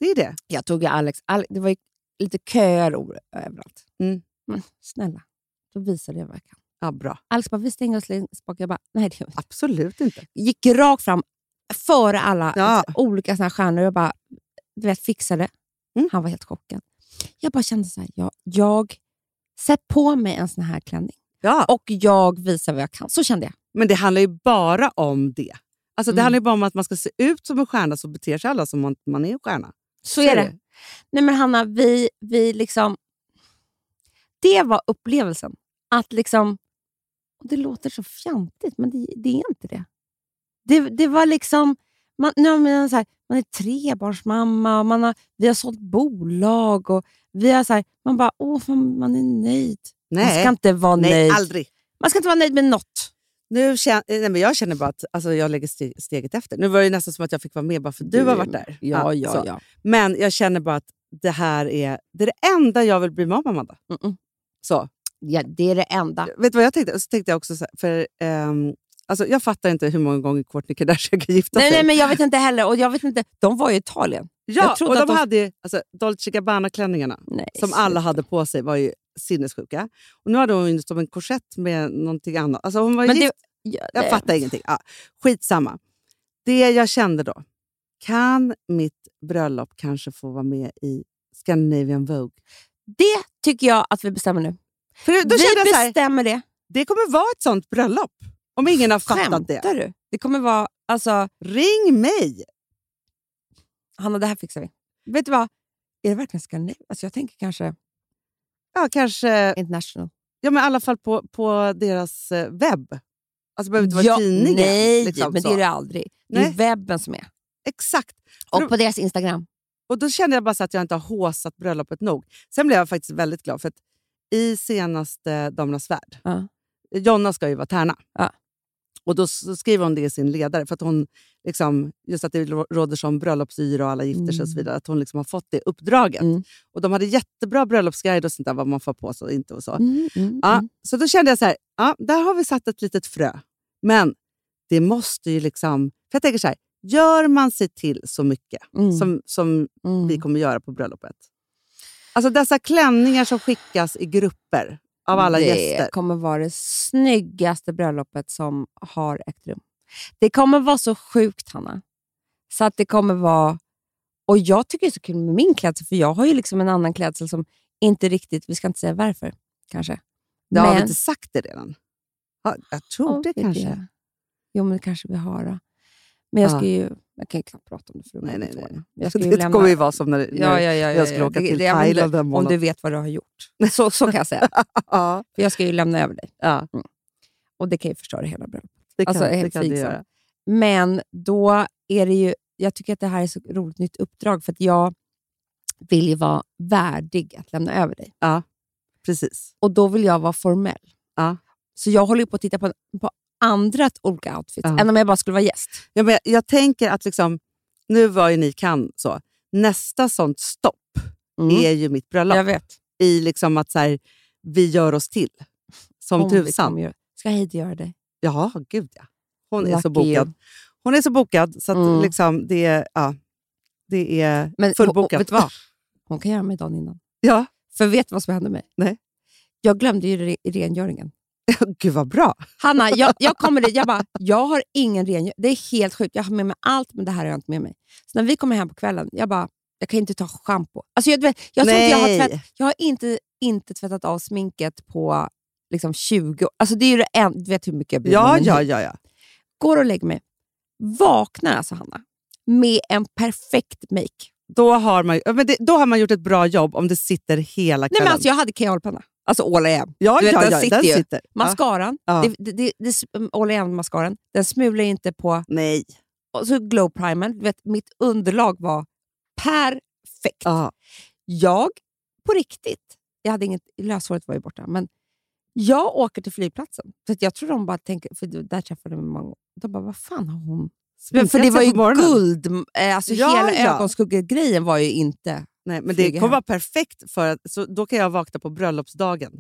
Det är det.
Jag tog ju Alex. Al- det var ju lite köer o- överallt.
Mm.
Men snälla, då visade jag vad jag kan.
Ja, bra.
Alex bara, vi stänger oss längst bak. Jag bara, nej det gör vi inte.
Absolut inte.
gick rakt fram före alla
Ja.
olika såna här stjärnor och bara du vet, fixade.
Mm.
Han var helt chockad. Jag bara kände så här, jag, jag sätt på mig en sån här klänning
Ja.
och jag visar vad jag kan. Så kände jag.
Men det handlar ju bara om det. Alltså, det
Mm.
handlar ju bara om att man ska se ut som en stjärna så beter sig alla som man, man är en stjärna.
Så är det. Nej men Hanna, vi, vi liksom... Det var upplevelsen. Att liksom... Och det låter så fjantigt, men det, det är inte det. Det, det var liksom... Man, nu har man, så här, man är trebarnsmamma och man har, vi har sålt bolag. Och vi har så här, man bara, åh, fan, man är nöjd. Man
Nej,
ska inte vara
Nej
nöjd.
aldrig.
Man ska inte vara nöjd med något.
Nu kän, nej, men jag känner bara att alltså, jag lägger ste- steget efter. Nu var det ju nästan som att jag fick vara med bara för du har varit där.
Ja,
så.
ja, ja.
Men jag känner bara att det här är det, är det enda jag vill bli mamma med, Amanda.
Mm-mm.
Så.
ja det är det enda.
Vet du vad jag tänkte? Och Så tänkte jag också så här, för, ehm, alltså, jag fattar inte hur måmånga gånger Kourtney Kardashian kan gifta
Nej,
sig.
nej, men jag vet inte heller. Och jag vet inte, de var ju i Italien.
ja,
jag trodde
och de
att de-
hade ju, alltså, Dolce Gabbana-klänningarna
Nej,
som alla hade på sig var ju sinnessjuka. Och nu hade hon ju som en korsett med någonting annat. Alltså, hon var
Men
gift.
det, ja,
Jag
nej.
fattar ingenting. Ja, skitsamma. Det jag kände då. Kan mitt bröllop kanske få vara med i Scandinavian Vogue?
det tycker jag att vi bestämmer nu.
För då kände jag
vi
så här,
bestämmer det.
det kommer vara ett sånt bröllop. Om ingen har fattat det.
Skämtar du? Det kommer vara... Alltså,
Ring mig!
Hanna, det här fixar vi. Vet du vad? Är det verkligen Scandinavien? Alltså, jag tänker kanske
Ja, kanske,
international.
ja, men i alla fall på, på deras eh, webb. Alltså, det behöver inte vara
Ja,
tidningen.
Nej,
liksom
men
så.
det är det aldrig. Det
Nej.
är webben som är.
Exakt.
Och på deras Instagram.
Och då kände jag bara så att jag inte har håsat bröllopet nog. Sen blev jag faktiskt väldigt glad, för att i senaste Damernas Värld,
Ja.
Jonna ska ju vara tärna.
Ja.
Och då s- skriver hon det i sin ledare, för att hon liksom, just att det rå- råder som bröllopsyra och alla gifter sig och så
Mm.
vidare, att hon liksom har fått det uppdraget.
Mm.
Och de hade jättebra bröllopsguide och sånt där, vad man får på sig och inte och så.
Mm, mm,
Ja,
mm.
så då kände jag så här, ja, där har vi satt ett litet frö. Men det måste ju liksom... För jag tänker så här, gör man sig till så mycket
Mm,
som, som
mm.
vi kommer göra på bröllopet. Alltså dessa klänningar som skickas i grupper av alla
det
gäster.
kommer vara det snyggaste bröllopet som har ägt rum. Det kommer vara så sjukt, Hanna. Så att det kommer vara... Och jag tycker det är så kul med min klädsel, för jag har ju liksom en annan klädsel som inte riktigt... Vi ska inte säga varför, kanske.
Det har vi
Men-
inte sagt det redan? Ja, jag tror
Ja,
det
är
kanske.
det. Jo, men det kanske vi har. Då. Men jag ska
Ja.
ju... Jag kan ju knappt prata om det, för då
Nej,
blir
nej,
det
nej.
tårar. Jag
Så
ska ju
det
lämna...
kommer ju vara som när, när
Ja, ja, ja, ja,
jag ska
ja.
åka
Det-
till
det- jag vet inte
Thailand den
Om du
månaden.
vet vad du har gjort. Så, så kan jag säga.
Ja,
För jag ska ju lämna över dig.
Ja.
Mm. Och det kan ju förstöra hela bröllopet.
det kan,
Alltså,
det,
helt
kan det
fixat.
göra.
Men då är det ju, jag tycker att det här är så roligt nytt uppdrag för att jag vill ju vara värdig att lämna över dig.
Precis.
Och då vill jag vara formell.
Ja.
Så jag håller ju på att titta på, på andra olika outfits,
Ja.
än om jag bara skulle vara gäst.
Ja, men jag, jag tänker att liksom, nu var ju ni kan så. Nästa sånt stopp är ju mitt bröllop.
Mm. Jag vet.
I liksom att så här, vi gör oss till. Som
Om vi
tusan.
kommer göra- liksom Ska Heidi göra det?
Ja, gud ja. Hon är så
Lucky you.
bokad. Hon är så bokad så att
Mm.
liksom det är, ja, det är
Men
fullbokat.
hon- vet du vad? Hon kan göra mig dagen innan.
Ja,
För vet du vad som hände mig?
Nej.
Jag glömde ju re- rengöringen.
gud vad bra.
Hanna, jag, jag kommer dit. Jag bara, jag har ingen rengöring. Det är helt sjukt. Jag har med mig allt, men det här har jag inte med mig. Så när vi kommer hem på kvällen, jag bara, jag kan inte ta schampo. Alltså jag, du vet, jag tror inte jag har,
Nej.
tvätt, jag har inte, inte tvättat av sminket på liksom 20 år. Alltså det är ju det en, du vet hur mycket jag blir
Ja,
med min
ja,
hy.
ja, ja.
Går och lägger mig. Vaknar alltså Hanna med en perfekt make.
Då har, man, ja, men det, då har man gjort ett bra jobb om det sitter hela
Nej,
kvällen.
men alltså jag hade KL-penna. Alltså all I am.
ja,
du vet,
ja,
den
ja,
sitter
den
ju.
sitter. Ja.
Mascaran,
Ja.
det, det, det, det, all I am-mascaran, den smular ju inte på
Nej.
och så glowprimern. Du vet, mitt underlag var perfekt.
Ja.
Jag, på riktigt, jag hade inget, löshåret var ju borta, men jag åker till flygplatsen. För att jag tror de bara tänker, för där träffade de många De bara, vad fan har hon? Alltså, Men för
Sminkat
det var
sig
ju
på morgonen.
guld. eh, Alltså
Ja,
hela
ja.
ögonskuggegrejen var ju inte...
Nej, men det
Flyger
kommer
hem.
vara perfekt för att så då kan jag vakna på bröllopsdagen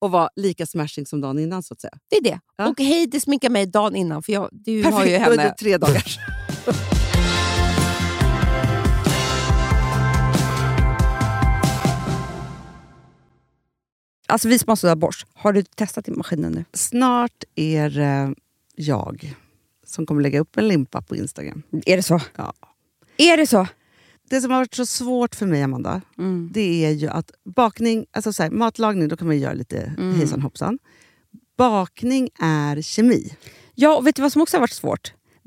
och vara lika smashing som dagen innan så att säga.
Det är det.
Ja.
Och Heidi sminkar mig dagen innan, för jag, du har ju
Perfekt
henne.
under tre dagar.
Alltså vi som har sådär borst, har du testat i maskinen nu?
Snart är det jag som kommer lägga upp en limpa på Instagram.
Är det så?
Ja.
Är det så?
Det som har varit så svårt för mig, Amanda,
Mm.
det är ju att bakning... Alltså så här, matlagning, då kan man ju göra lite
Mm.
hejsan hoppsan. Bakning är kemi.
Ja, och vet du vad som också har varit svårt?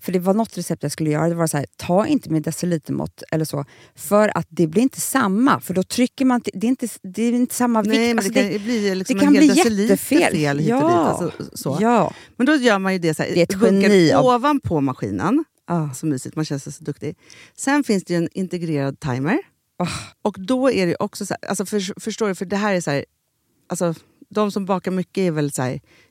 för det var något recept jag skulle göra, det var så här, ta inte med decilitermått eller så, för att det blir inte samma, för då trycker man, till- det är inte, det är inte samma vikt.
Nej, men
Alltså,
det kan ju bli liksom
det kan
en hel
bli
deciliter
jättefel.
fel hit och dit.
Ja.
Alltså, så.
Ja.
Men då gör man ju det så här,
Det är ett
bunkar
geni av-
ovanpå maskinen.
Ah.
Så mysigt, man känns så duktig. Sen finns det ju en integrerad timer.
Ah.
Och då är det ju också så här, alltså för, förstår du, för det här är så här, alltså de som bakar mycket är väl så här,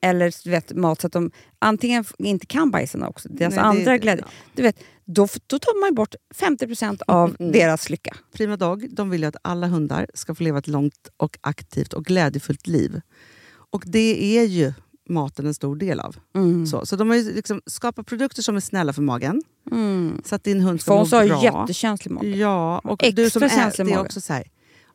eller du vet, mat så att de antingen f- inte kan bajsa också, deras
Nej, det-
andra
det-
glädje,
ja.
du vet, då, f- då tar man ju bort 50% av
Mm.
deras lycka.
Prima Dog de vill ju att alla hundar ska få leva ett långt och aktivt och glädjefullt liv. Och det är ju maten en stor del av.
Mm.
Så, så de har ju liksom skapat produkter som är snälla för magen.
Mm.
Så att din hund ska
Fons
må
har
bra. Mm.
ju jättekänslig mage.
Ja, och
Extra
du som är,
känslig Mm.
det är
mage.
också så här,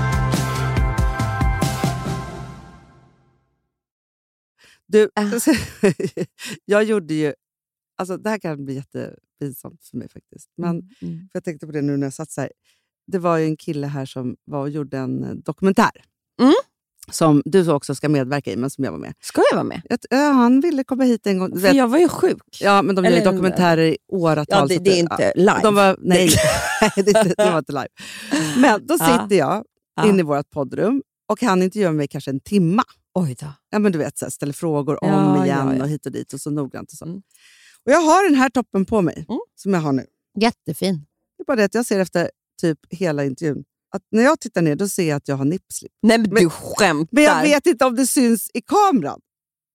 Äh.
Du, jag alltså, gjorde ju Alltså, det här kan bli jättepinsamt för mig faktiskt. Men
Mm.
för jag tänkte på det nu när jag satt så här. Det var ju en kille här som var och gjorde en eh, dokumentär.
Mm.
Som du så också ska medverka i, men som jag var med.
Ska jag vara med?
Jag, t- ja, han ville komma hit en gång. Du
För
vet,
jag var ju sjuk.
ja, men de gör ju
eller-
dokumentärer i åratal.
Ja, det,
så att
det är
ja.
inte live.
De var, nej, det, är inte- det var inte live. Men då
Ja.
sitter jag
Ja.
inne i vårt poddrum och han intervjuar mig kanske en timma.
Oj då.
Ja, men du vet, så här, ställer frågor om
Ja, ja,
igen
ja.
och hit och dit och så noggrant. Och, så.
Mm.
och jag har den här toppen på mig
Mm.
som jag har nu.
Jättefin.
Det är bara det att jag ser efter typ hela intervjun att när jag tittar ner då ser jag att jag har nipslip.
Nej men,
Men-
du skämtar.
Men jag vet inte om det syns i kameran.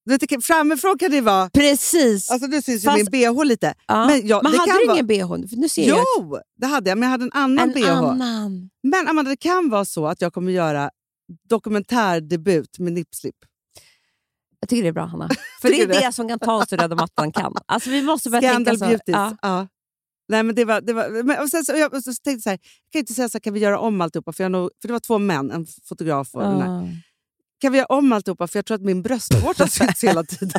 Du vet, det kan- framifrån kan det vara...
Precis.
Alltså nu syns
Fast-
ju min bh lite.
ja. Men,
Men, jag, det
hade
kan
du
vara...
ingen bh? För Nu ser jag
Jo, det hade jag, men jag hade en annan
en
bh.
annan.
Men Amanda, det kan vara så att jag kommer göra dokumentärdebut med nipslip.
Jag tycker det är bra Hanna. För det
Tycker
är
du?
det som kan ta oss till röda mattan kan. Alltså vi måste börja
Scandal
tänka så.
beauties.
Ja.
Ja. Nej, men det var, det var, men, och sen så, jag, och så tänkte jag så här, jag kan ju inte säga så här, kan vi göra om alltihopa? För, jag nog, för det var två män, en fotograf och den här.
Ja.
Kan vi göra om alltihopa? För jag tror att min bröstvårta syns hela tiden.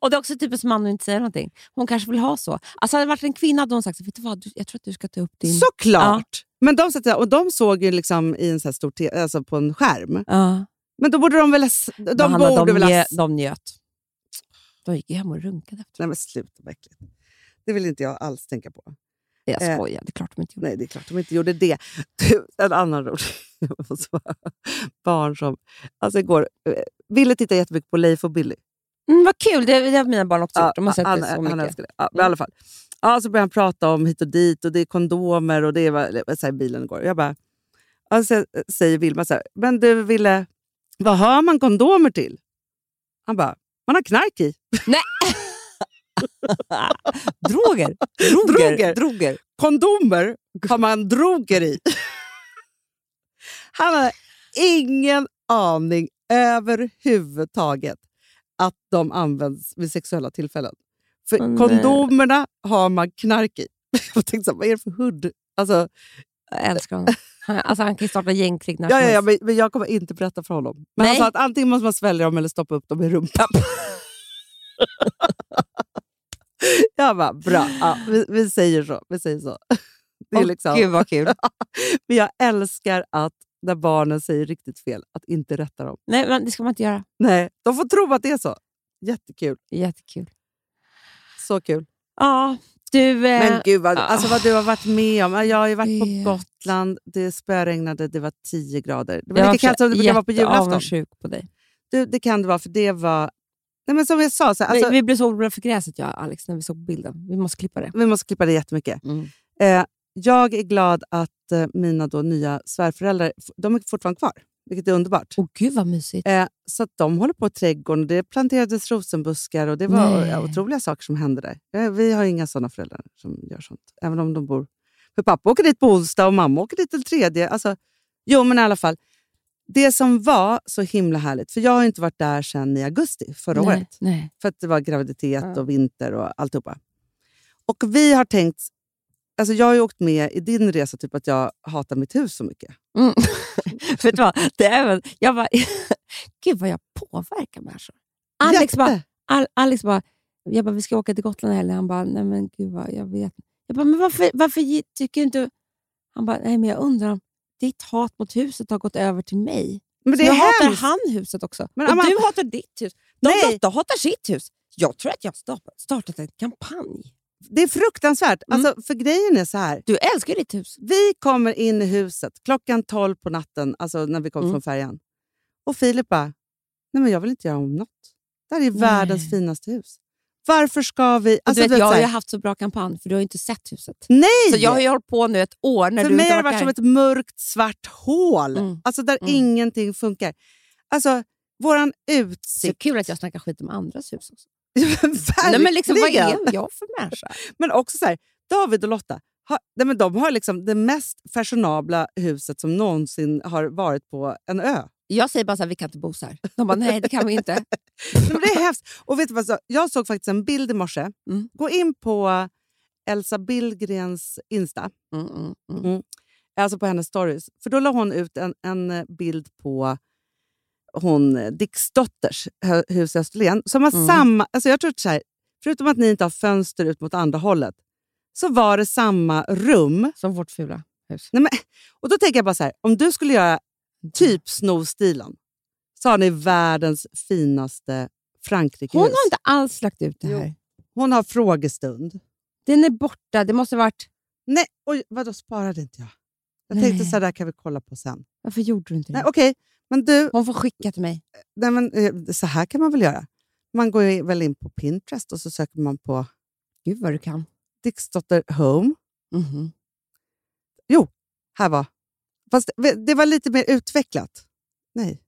Och det är också typ typiskt man att inte säga någonting. Hon kanske vill ha så. Alltså hade det varit en kvinna hade hon sagt så, vet du vad, du, jag tror att du ska ta upp din...
Såklart! Men de, satt, där, och de såg ju liksom i en så här stor te, alltså på en skärm.
Ja.
Men då borde de väl ha... s- De
Men Hanna,
borde
de,
väl ha...
njöt,
s-
de njöt. De gick ju hem och runkade efter.
Nej men sluta vad äckligt. Det vill inte jag alls tänka på.
Jag
Eh,
skojar, det är klart de inte gjorde.
Nej, det är klart de inte gjorde det. Du, en annan rolig jag måste bara- barn som alltså igår eh, ville titta jättemycket på Leif och Billy.
Mm, vad kul, det, det har mina barn också gjort. De har sett
han,
det så
han
mycket. Mm.
älskade det. Ja, men I alla fall. Ja, så började han prata om hit och dit och det är kondomer och det var eller, så här, i bilen igår. Jag bara, och så eh, säger Vilma så här, men du Ville, vad har man kondomer till? Han bara, man har knark i.
Droger!
Droger.
Droger! Droger!
kondomer har man droger i. Han hade ingen aning överhuvudtaget att de används vid sexuella tillfällen. För
Men, eh,
kondomerna har man knark i. Jag tänkte, så här, vad är det för hud? Alltså,
Jag älskar honom. Han, alltså, han kan ju starta gängkrig
ja,
när som
ja, ja,
helst.
men, men jag kommer inte berätta för honom. Men han
Nej.
sa att antingen måste man svälja dem eller stoppa upp dem i rumpan. jag bara, bra. Ja, vi, vi säger så. Vi säger så. Det är
Åh,
liksom-
Gud vad kul.
Men jag älskar att när barnen säger riktigt fel, att inte rätta dem.
Nej, men det ska man inte göra.
Nej, de får tro att det är så. Jättekul.
Jättekul.
Så kul.
Ja, du... Eh,
Men gud vad,
ah.
alltså vad du har varit med om. Jag har ju varit på
Vet.
Gotland, det spöregnade, det var 10 grader. Det
jag
var lika kallt som det brukar vara på julafton.
jätteavundsjuk på dig.
Du, det kan det vara, för det var... Nej, men som jag sa, så, här,
Alltså,
alltså,
vi, vi blev så oroliga för gräset, jag och Alex, när vi såg bilden. Vi Mm. måste klippa det.
vi måste klippa det jättemycket. Eh, jag är glad att eh, mina då nya svärföräldrar, f- de är fortfarande kvar, vilket är underbart.
Åh gud vad mysigt.
Eh, så att de håller på i trädgården. och Det planterades rosenbuskar och det var eh,
Nej.
otroliga saker som hände där. Eh, vi har inga sådana föräldrar som gör sånt. Även om de bor... För pappa åker dit på onsdag och mamma åker dit den tredje. Alltså, jo, men i alla fall. Det som var så himla härligt, för jag har ju inte varit där sedan i augusti förra
nej,
året.
Nej.
För att det var graviditet
Ja.
och vinter och alltihopa. Och vi har tänkt... Alltså jag har ju åkt med i din resa typ att jag hatar mitt hus så mycket.
Mm. Vet du vad? Det är väl, jag bara, gud vad jag påverkar människor. Alex
Jätte!
bara, Al- Alex bara, jag bara, vi ska åka till Gotland i helgen. Han bara, nej men gud vad, jag vet inte." Jag bara, men varför, varför ge- tycker inte du... Han bara, nej men jag undrar om ditt hat mot huset har gått över till mig.
Men det
jag
är
hatar
hemskt!
han huset också.
Men
och
Amanda-
du hatar ditt hus. De
Nej.
Lotta hatar sitt hus. Jag tror att jag har startat- startat en kampanj.
Det är fruktansvärt.
Mm.
Alltså, för grejen är så här.
Du älskar ju ditt hus.
Vi kommer in i huset klockan 12 på natten, alltså när vi kom
Mm.
från färjan. Och Filip bara, nej men jag vill inte göra om något. Det här är världens finaste hus. Varför ska vi...
Och
Alltså,
du
du
vet, jag
så
har
här,
ju haft så bra kampanj, för du har ju inte sett huset.
nej!
Så jag har ju hållit på nu ett år när
För
du
mig
inte
har det varit
varit
som ett mörkt svart hål,
Mm.
alltså där
Mm.
ingenting funkar. Alltså, våran
Det är
utsikt...
kul att jag snackar skit om andras hus också. Nej,
Verkligen!
men liksom, vad är jag för människa?
Men också så här, David och Lotta, har, nej men de har liksom det mest fashionabla huset som någonsin har varit på en ö.
Jag säger bara så här, vi kan inte bo så här. De bara, nej det kan vi inte.
Nej, men det är hemskt. Och vet du vad, så- jag såg faktiskt en bild i morse.
Mm.
Gå in på Elsa Billgrens Insta,
Mm, mm, mm.
alltså på hennes stories. För då la hon ut en, en eh, bild på hon eh, Dixdotters hö- hus i Österlen. Som har
Mm.
samma... Alltså jag tror att så här, Förutom att ni inte har fönster ut mot andra hållet, så var det samma rum.
Som vårt fula hus.
Nej, men, och då tänker jag bara så här, om du skulle göra
Mm.
typ sno-stilen, så har ni världens finaste Frankrike
Hon har inte alls lagt ut det här.
Hon har frågestund.
Den är borta. Det måste ha varit...
Nej, oj, vadå sparade inte jag? Jag
Nej.
tänkte så här, där kan vi kolla på sen.
Varför gjorde du inte det?
Nej, okej. Men du,
Hon får skicka till mig.
nej, men, eh, så här kan man väl göra? Man går ju väl in på Pinterest och så söker man på
Gud vad du kan.
Dixdotter Home.
Mhm.
Här var. Fast det- det var lite mer utvecklat. Nej.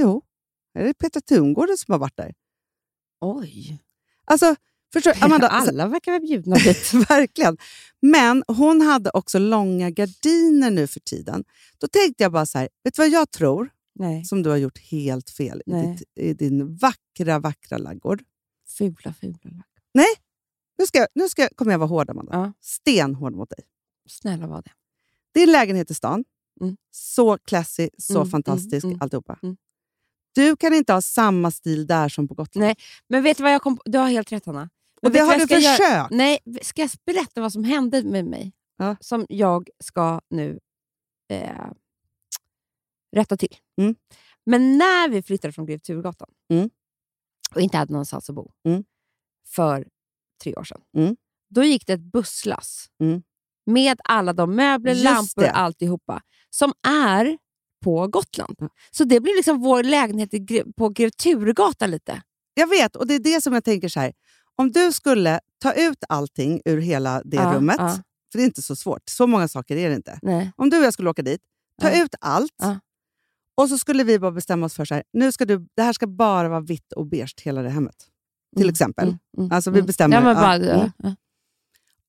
Jo. Är det Petra Tungården som har varit där?
Oj.
Alltså, förstår du? Amanda, alltså,
Alla verkar vara bjudna dit.
Verkligen. Men hon hade också långa gardiner nu för tiden. Då tänkte jag bara så här, vet du vad jag tror
Nej,
som du har gjort helt fel i,
Nej.
ditt, i din vackra, vackra laggård?
fula, fula lack.
Nu, ska, jag- nu ska, jag- kommer jag vara hård, Amanda.
Ja.
Stenhård mot dig.
Snälla var det.
Din lägenhet i stan,
Mm.
så classy, så
Mm,
fantastisk,
mm, mm.
alltihopa.
Mm.
Du kan inte ha samma stil där som på Gotland.
Nej, Men vet du vad jag kom på? Du har helt rätt, Hanna. Men
Och det
vet
har
vad
du
jag ska göra?
försökt.
Nej, ska jag berätta vad som hände med mig?
Ja.
Som jag ska nu eh, rätta till.
Mm.
Men när vi flyttade från Grev Turgatan
Mm.
och inte hade någonstans att bo
Mm.
för tre år sedan,
Mm.
då gick det ett busslass
Mm.
med alla de möbler,
Just
lampor
det.
och alltihopa som är på Gotland. Så det blir liksom vår lägenhet i Gre- på Grev Turgatan lite.
Jag vet, och det är det som jag tänker så här. Om du skulle ta ut allting ur hela det
Ja,
rummet,
ja.
för det är inte så svårt, så många saker är det inte.
Nej.
Om du och jag skulle åka dit, ta
Ja.
ut allt
Ja.
och så skulle vi bara bestämma oss för så här, nu ska du, det här ska bara vara vitt och beige hela det hemmet. Till
Mm,
exempel.
mm, mm,
Alltså, vi
mm.
bestämmer,
Ja, men
ja,
bara,
mm.
ja.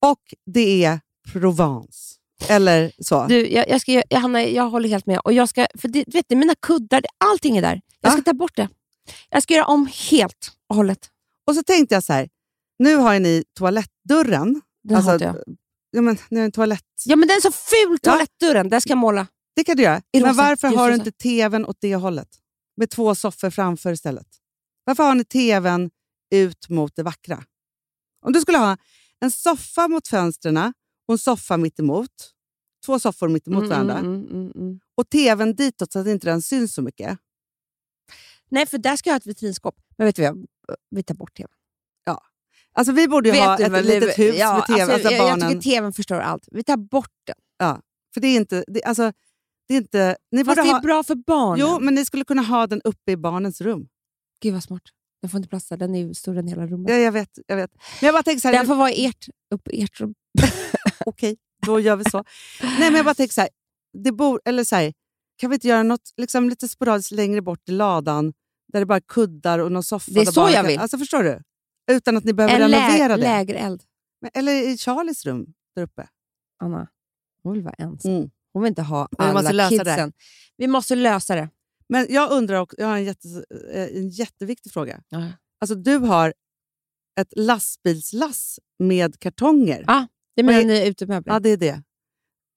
Och det är Provence. Eller så.
Du, jag, jag, ska, jag, Hanna, jag håller helt med. Och jag ska, för det, du vet, det är mina kuddar, det, allting är där. Jag ska ta bort det. Jag ska göra om helt och hållet.
Och så tänkte jag så här, nu har ju ni toalettdörren.
Den
Alltså,
hatar jag.
Ja, men, nu är det en toalett.
Ja, men den är så ful,
Ja.
toalettdörren. Den ska jag måla.
Det kan du göra.
I
Men
rosa,
varför har du
ljusrosa.
inte tvn åt det hållet? Med två soffor framför istället. Varför har ni tvn ut mot det vackra? Om du skulle ha en soffa mot fönstren och en soffa mitt emot. Två soffor mitt emot varandra.
mm, mm, mm.
Och tvn ditåt så att inte den syns så mycket.
Nej, för där ska jag ha ett vitrinskåp. Men vet du vad? Jag, vi tar bort tvn.
Alltså vi borde ju
Vet
ha
du
ett
vad-
litet hus
ja,
med tv. Alltså,
jag,
barnen.
jag tycker tvn förstör allt. Vi tar bort den.
För det är inte... Det, alltså, det är inte ni
Fast
borde
det är
ha,
bra för barnen.
jo, men ni skulle kunna ha den uppe i barnens rum.
Gud vad smart. Den får inte plats där. Den är ju större än hela rummet.
Ja, jag vet. Jag vet. Men jag bara tänker så här,
Den får vara i ert, upp i ert rum.
okej, då gör vi så. Nej, men jag bara tänker så här, det bor, eller så här, kan vi inte göra något liksom, lite sporadiskt längre bort i ladan där det bara är kuddar och någon soffa?
Det är
där
så
barnen
jag
kan-
vill.
Alltså, förstår du? Utan att ni behöver
en
renovera
lä-
det.
lägereld.
Men, eller i Charlies rum där uppe.
Anna, hon vill vara ensam.
Mm.
Hon vill inte ha
Men vi
alla
måste lösa det.
kidsen. Vi måste lösa det.
Men jag undrar också, jag har en, jätte, eh, en jätteviktig fråga. Alltså, du har ett lastbilslass med kartonger.
Ja. Det är
Vad
mina
är-
nya utemöbler.
Ja, det är det.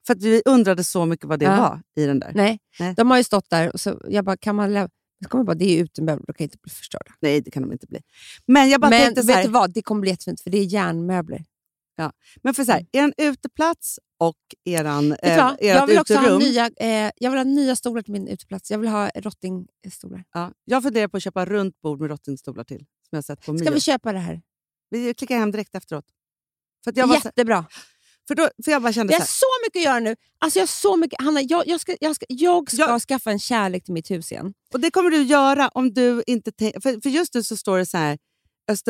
För att vi undrade så mycket vad det
Ja.
var i den där.
Nej,
Nej.
de har ju stått där och så jag bara, kan man lämna? Så kommer jag bara, det är ju utemöbler, de kan inte bli förstörda.
Nej, det kan de inte bli. Men jag bara
Men
tänkte
vet
så här,
du vad, det kommer bli jättefint för det är järnmöbler.
Typ. Men för så här, er uteplats och eran,
Mm. Vet du vad? jag,
eh, ert
vill också ha
uterum.
nya, eh, jag vill ha nya stolar till min uteplats. Jag vill ha rottingstolar.
Ja, jag funderar på att köpa runt bord med rottingstolar till. Som jag har sett på
Ska
Mio.
vi
Vi,
köpa det här?
klickar hem direkt efteråt. För, att jag, bara, så-
Jättebra.
för, då, för jag bara kände
Jag
så här,
har så mycket att göra nu. Alltså jag har så mycket. Hanna, jag, jag ska, jag ska, jag ska
Jag-
skaffa en kärlek till mitt hus igen.
och det kommer du göra om du inte tänker... För, för just nu så står det så här,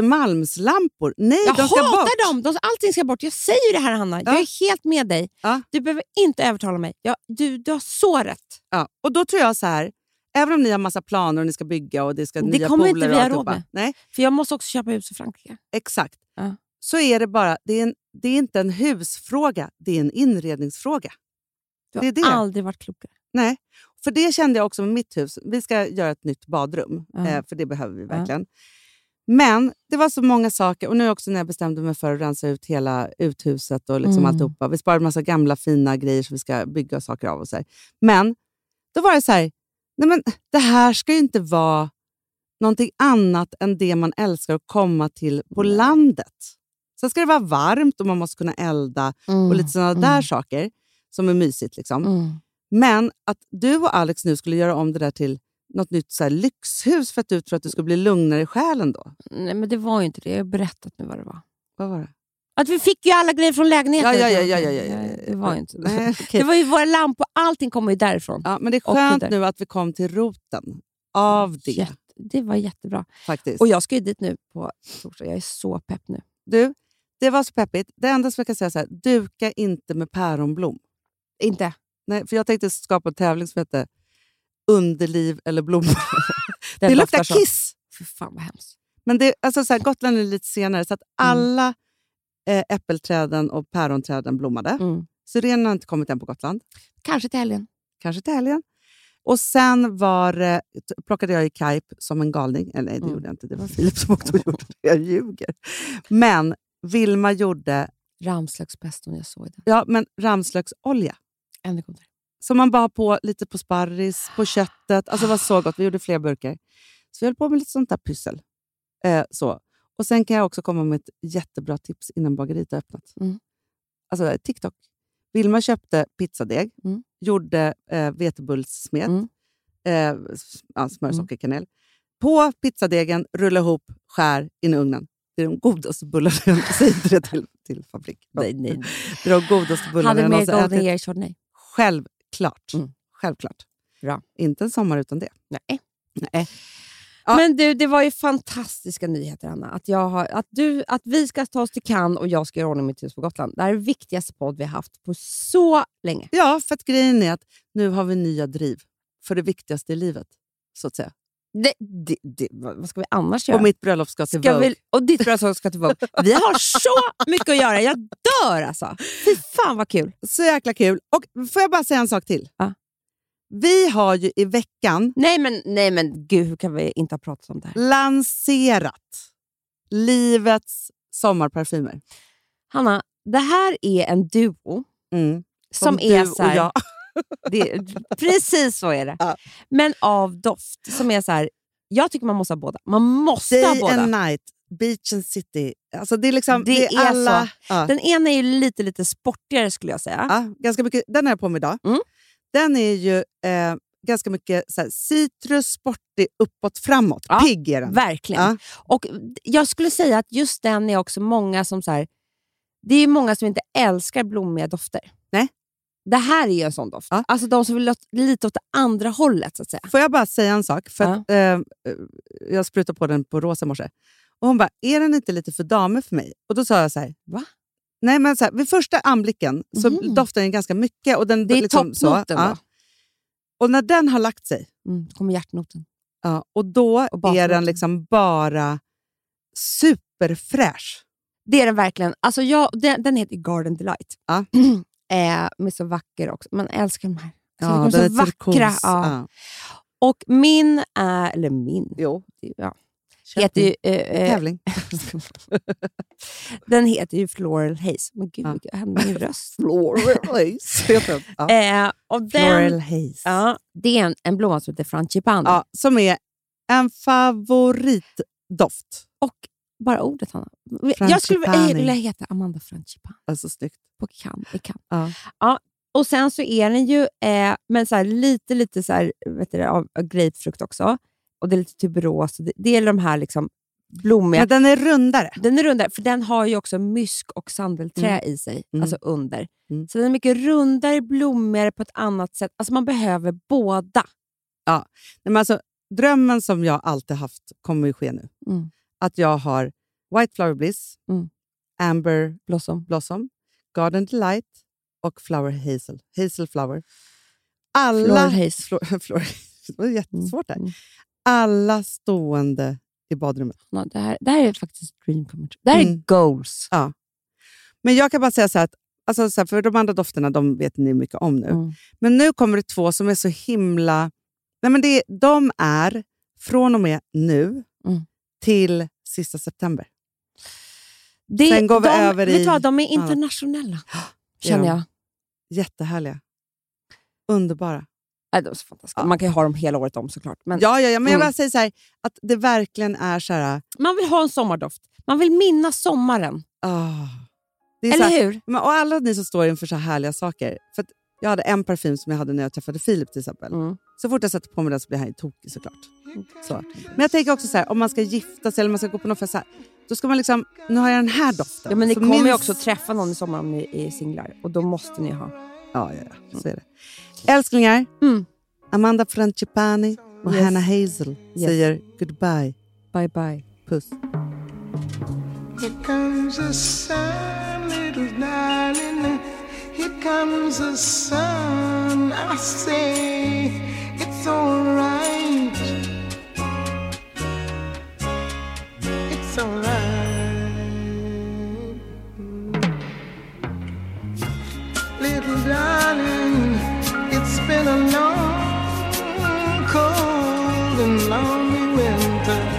Östermalmslampor. Nej,
Jag
de ska bort!
hatar dem! De, allting ska bort. Jag säger ju det här Hanna, jag
Ja.
är helt med dig.
Ja.
Du behöver inte övertala mig. Jag, du, du har så rätt.
Ja, och då tror jag så här, även om ni har massa planer och ni ska bygga och det ska
Det
nya
kommer inte
pooler
vi
och
ha råd
alltihopa.
med.
Nej,
För jag måste också köpa hus i Frankrike.
exakt.
Ja.
Så är det bara, det är, en, det är inte en husfråga, det är en inredningsfråga.
Du har
Det är det.
aldrig varit klokare.
Nej, för det kände jag också med mitt hus. Vi ska göra ett nytt badrum,
Ja.
eh, för det behöver vi verkligen. Men det var så många saker. Och nu också när jag bestämde mig för att rensa ut hela uthuset och liksom
Mm.
alltihopa. Vi sparade massa gamla fina grejer som vi ska bygga saker av. och så här. Men då var det så här, nej men det här ska ju inte vara någonting annat än det man älskar att komma till på landet. Sen ska det vara varmt och man måste kunna elda Mm. och
Mm,
lite sådana där saker som är mysigt. Liksom. Men att du och Alex nu skulle göra om det där till något nytt så här, lyxhus för att du tror att du skulle bli lugnare i själen då.
Nej, men det var ju inte det. Jag har berättat nu vad det var.
Vad var det?
Att vi fick ju alla grejer från lägenheten.
Ja, ja, ja, ja, ja, ja, ja.
Nej, Det var ju inte det.
Nej, okej.
Det var ju våra lampor, allting kommer ju därifrån.
ja, men det är
Och
skönt
kuddar.
nu att vi kom till roten av det
Jätte, det var jättebra.
faktiskt.
Och jag ska ju dit nu på torsdag. Jag är så pepp nu.
Du, det var så peppigt. Det enda som jag kan säga är så här, duka inte med päronblom.
Inte?
Nej, för jag tänkte skapa en tävling som heter Underliv eller blommor. det, luktar
så.
kiss!
Fy fan vad hemskt.
Men det, alltså så här, Gotland är lite senare, så att
Mm.
alla eh, äppelträden och päronträden blommade.
Mm.
Syrenerna har inte kommit än på Gotland,
Kanske till helgen.
kanske till helgen. Och sen var, det- t- plockade jag i kajp som en galning. Eller nej, det
Mm.
gjorde jag inte. Det var Filip som åkte och gjorde det. Jag ljuger. Men Vilma gjorde
Ramslöksbeston, jag såg den.
ja, men ramslöksolja.
Ännu godare.
som man bara på lite på sparris, på köttet. Alltså det var så gott. Vi gjorde flera burkar. Så vi höll på med lite sånt där pyssel. Eh, så. Och sen kan jag också komma med ett jättebra tips innan bageriet har öppnat.
Mm.
Alltså det här är TikTok. Vilma köpte pizzadeg,
Mm.
gjorde eh, vetebullssmet,
Mm.
eh, s- ja, smör, socker, kanel. På pizzadegen, rulla ihop, skär in i ugnen. Det är de godaste bullarna jag Säg inte det till, till fabrik.
Nej, nej, nej.
Det är de godaste bullarna
Hade
jag
mer
någonsin ätit.
Golden Year Chardonnay?
Självklart.
Mm.
Självklart.
Bra.
Inte en sommar utan det.
Nej.
Nej. Ja.
Men du, det var ju fantastiska nyheter, Anna. Att, jag har, att, du, att vi ska ta oss till Cannes och jag ska göra ordning mitt hus på Gotland. Det här är den viktigaste podd vi har haft på så länge.
Ja, för att grejen är att nu har vi nya driv för det viktigaste i livet. Så att säga.
Det, det, det, vad vad ska vi annars göra?
Och mitt bröllop ska till
ska
Vogue.
vi, och ditt bröllop ska till Vogue. Vi har så mycket att göra. Jag dör alltså. Fy fan vad kul.
Så jäkla kul. Och får jag bara säga en sak till?
Ja.
Vi har ju i veckan
Nej men, nej, men gud, hur kan vi inte ha pratat om det här?
lanserat livets sommarparfymer.
Hanna, det här är en duo
Mm.
som, är så här, det, Precis så är det.
Ja.
Men av doft. Som är så här, jag tycker man måste ha båda. Man måste ha
Day
båda.
and night, beach and city. Alltså det är liksom
Det
det är
är
alla...
så.
Ja.
Den ena är ju lite, lite sportigare skulle jag säga.
Ja, ganska mycket, den är jag på mig idag.
Ah. Mm.
Den är ju eh, ganska mycket så här, citrus, sportig, uppåt, framåt.
Ja,
Pigg är den.
Verkligen.
Ja.
Och jag skulle säga att just den är också många som så här, det är många som inte älskar blommiga dofter.
Nej.
Det här är ju en sån doft.
Ja.
Alltså de som vill åt, lite åt det andra hållet så att säga.
Får jag bara säga en sak? För att, eh, jag sprutade på den på rosa i morse. Och hon bara, är den inte lite för damig för mig? Och då sa jag så här,
Va?
Nej, men så här, vid första anblicken så
Mhm.
doftar den ganska mycket. Och den,
Det är
liksom så,
toppnoten
ja.
då.
Och när den har lagt sig,
Mm, då kommer hjärtnoten.
ja, och då
Och
är
basnoten.
den liksom bara superfräsch.
Det är den verkligen. Alltså jag, den, den heter Garden Delight.
Ja.
eh, de är så vacker också. Man älskar de här.
Ja,
Alltså, de är
den
så
är
vackra.
turkos.
Ja.
Ja.
Och min är, eller min,
Jo.
ja, heter ju... eh, eh,
Tävling.
den heter ju Floral Haze. Men gud,
Ja.
vad hände med min röst?
Floral Haze. ja.
Eh, och den,
Floral Haze.
Ja, det är en, en blomma som heter frangipani.
Ja, som är en favoritdoft.
Och bara ordet, Hanna. Jag skulle
Frangipani.
eh, vilja heta Amanda Frangipani
Alltså snyggt.
på kan, i kan.
Ja.
Ja, och sen så är den ju eh, men så här, lite, lite så här, vet du, det, av, av grapefrukt också. Och det är lite tuberos. och Det, det är de här liksom blommiga
Men den är rundare.
Den är rundare, för den har ju också mysk och sandelträ i sig,
Mm.
alltså under.
Mm.
Så den är mycket rundare, blommigare på ett annat sätt. Alltså man behöver båda.
Nej, men alltså, drömmen som jag alltid haft kommer ju ske nu.
Mm.
Att jag har White Flower Bliss,
Mm.
Amber
Blossom.
Blossom, Garden Delight och Flower Hazel. Hazel Flower. Alla,
Floral haze.
Flor- Floral Haze. det var jättesvårt där.
Mm. Mm.
Alla stående i badrummet.
Ja, det, här, det här är faktiskt dream come true. Det här är
Mm.
goals.
Men jag kan bara säga så här, att, alltså så här för de andra dofterna de vet ni mycket om nu.
Mm.
Men nu kommer det två som är så himla... Nej men det, är- de är från och med nu
Mm.
till sista september.
Det,
Mm. Sen går vi
de,
över
Vet
i-
du vad, de är internationella,
är
känner
de.
jag. Mm.
Jättehärliga. Underbara.
Nej, de är så fantastiska. Man kan ju ha dem hela året om såklart. Men
Ja, ja, ja, men jag
Mm.
bara säger så här, att det verkligen är så här...
Man vill ha en sommardoft. Man vill minnas sommaren.
ah. Det är så
Eller
här
hur?
men, och alla ni som står inför så här härliga saker. För att jag hade en parfym som jag hade när jag träffade Filip till exempel.
Mm.
Så fort jag sätter på mig den så blir han ju tokig såklart. Så. Men jag tänker också så här, om man ska gifta sig eller man ska gå på någon fest, så här, då ska man liksom, nu har jag den här doften.
Ja, men ni
Så
kommer ju
minns-
också träffa någon i sommar om ni är singlar. Och då måste ni ha.
Ja, ja, ja. Så är det. Älsklingar,
Mm.
Amanda Francipani och
Yes.
Hannah Hazel
Yes.
säger goodbye.
Bye, bye.
Puss.
Here comes the sun, little darling. Here comes the sun. I say it's alright. It's alright. Little darling, it's been a long, cold and lonely winter.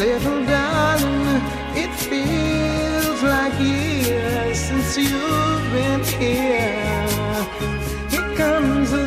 Little darling, it feels like years since you've been here. Here comes the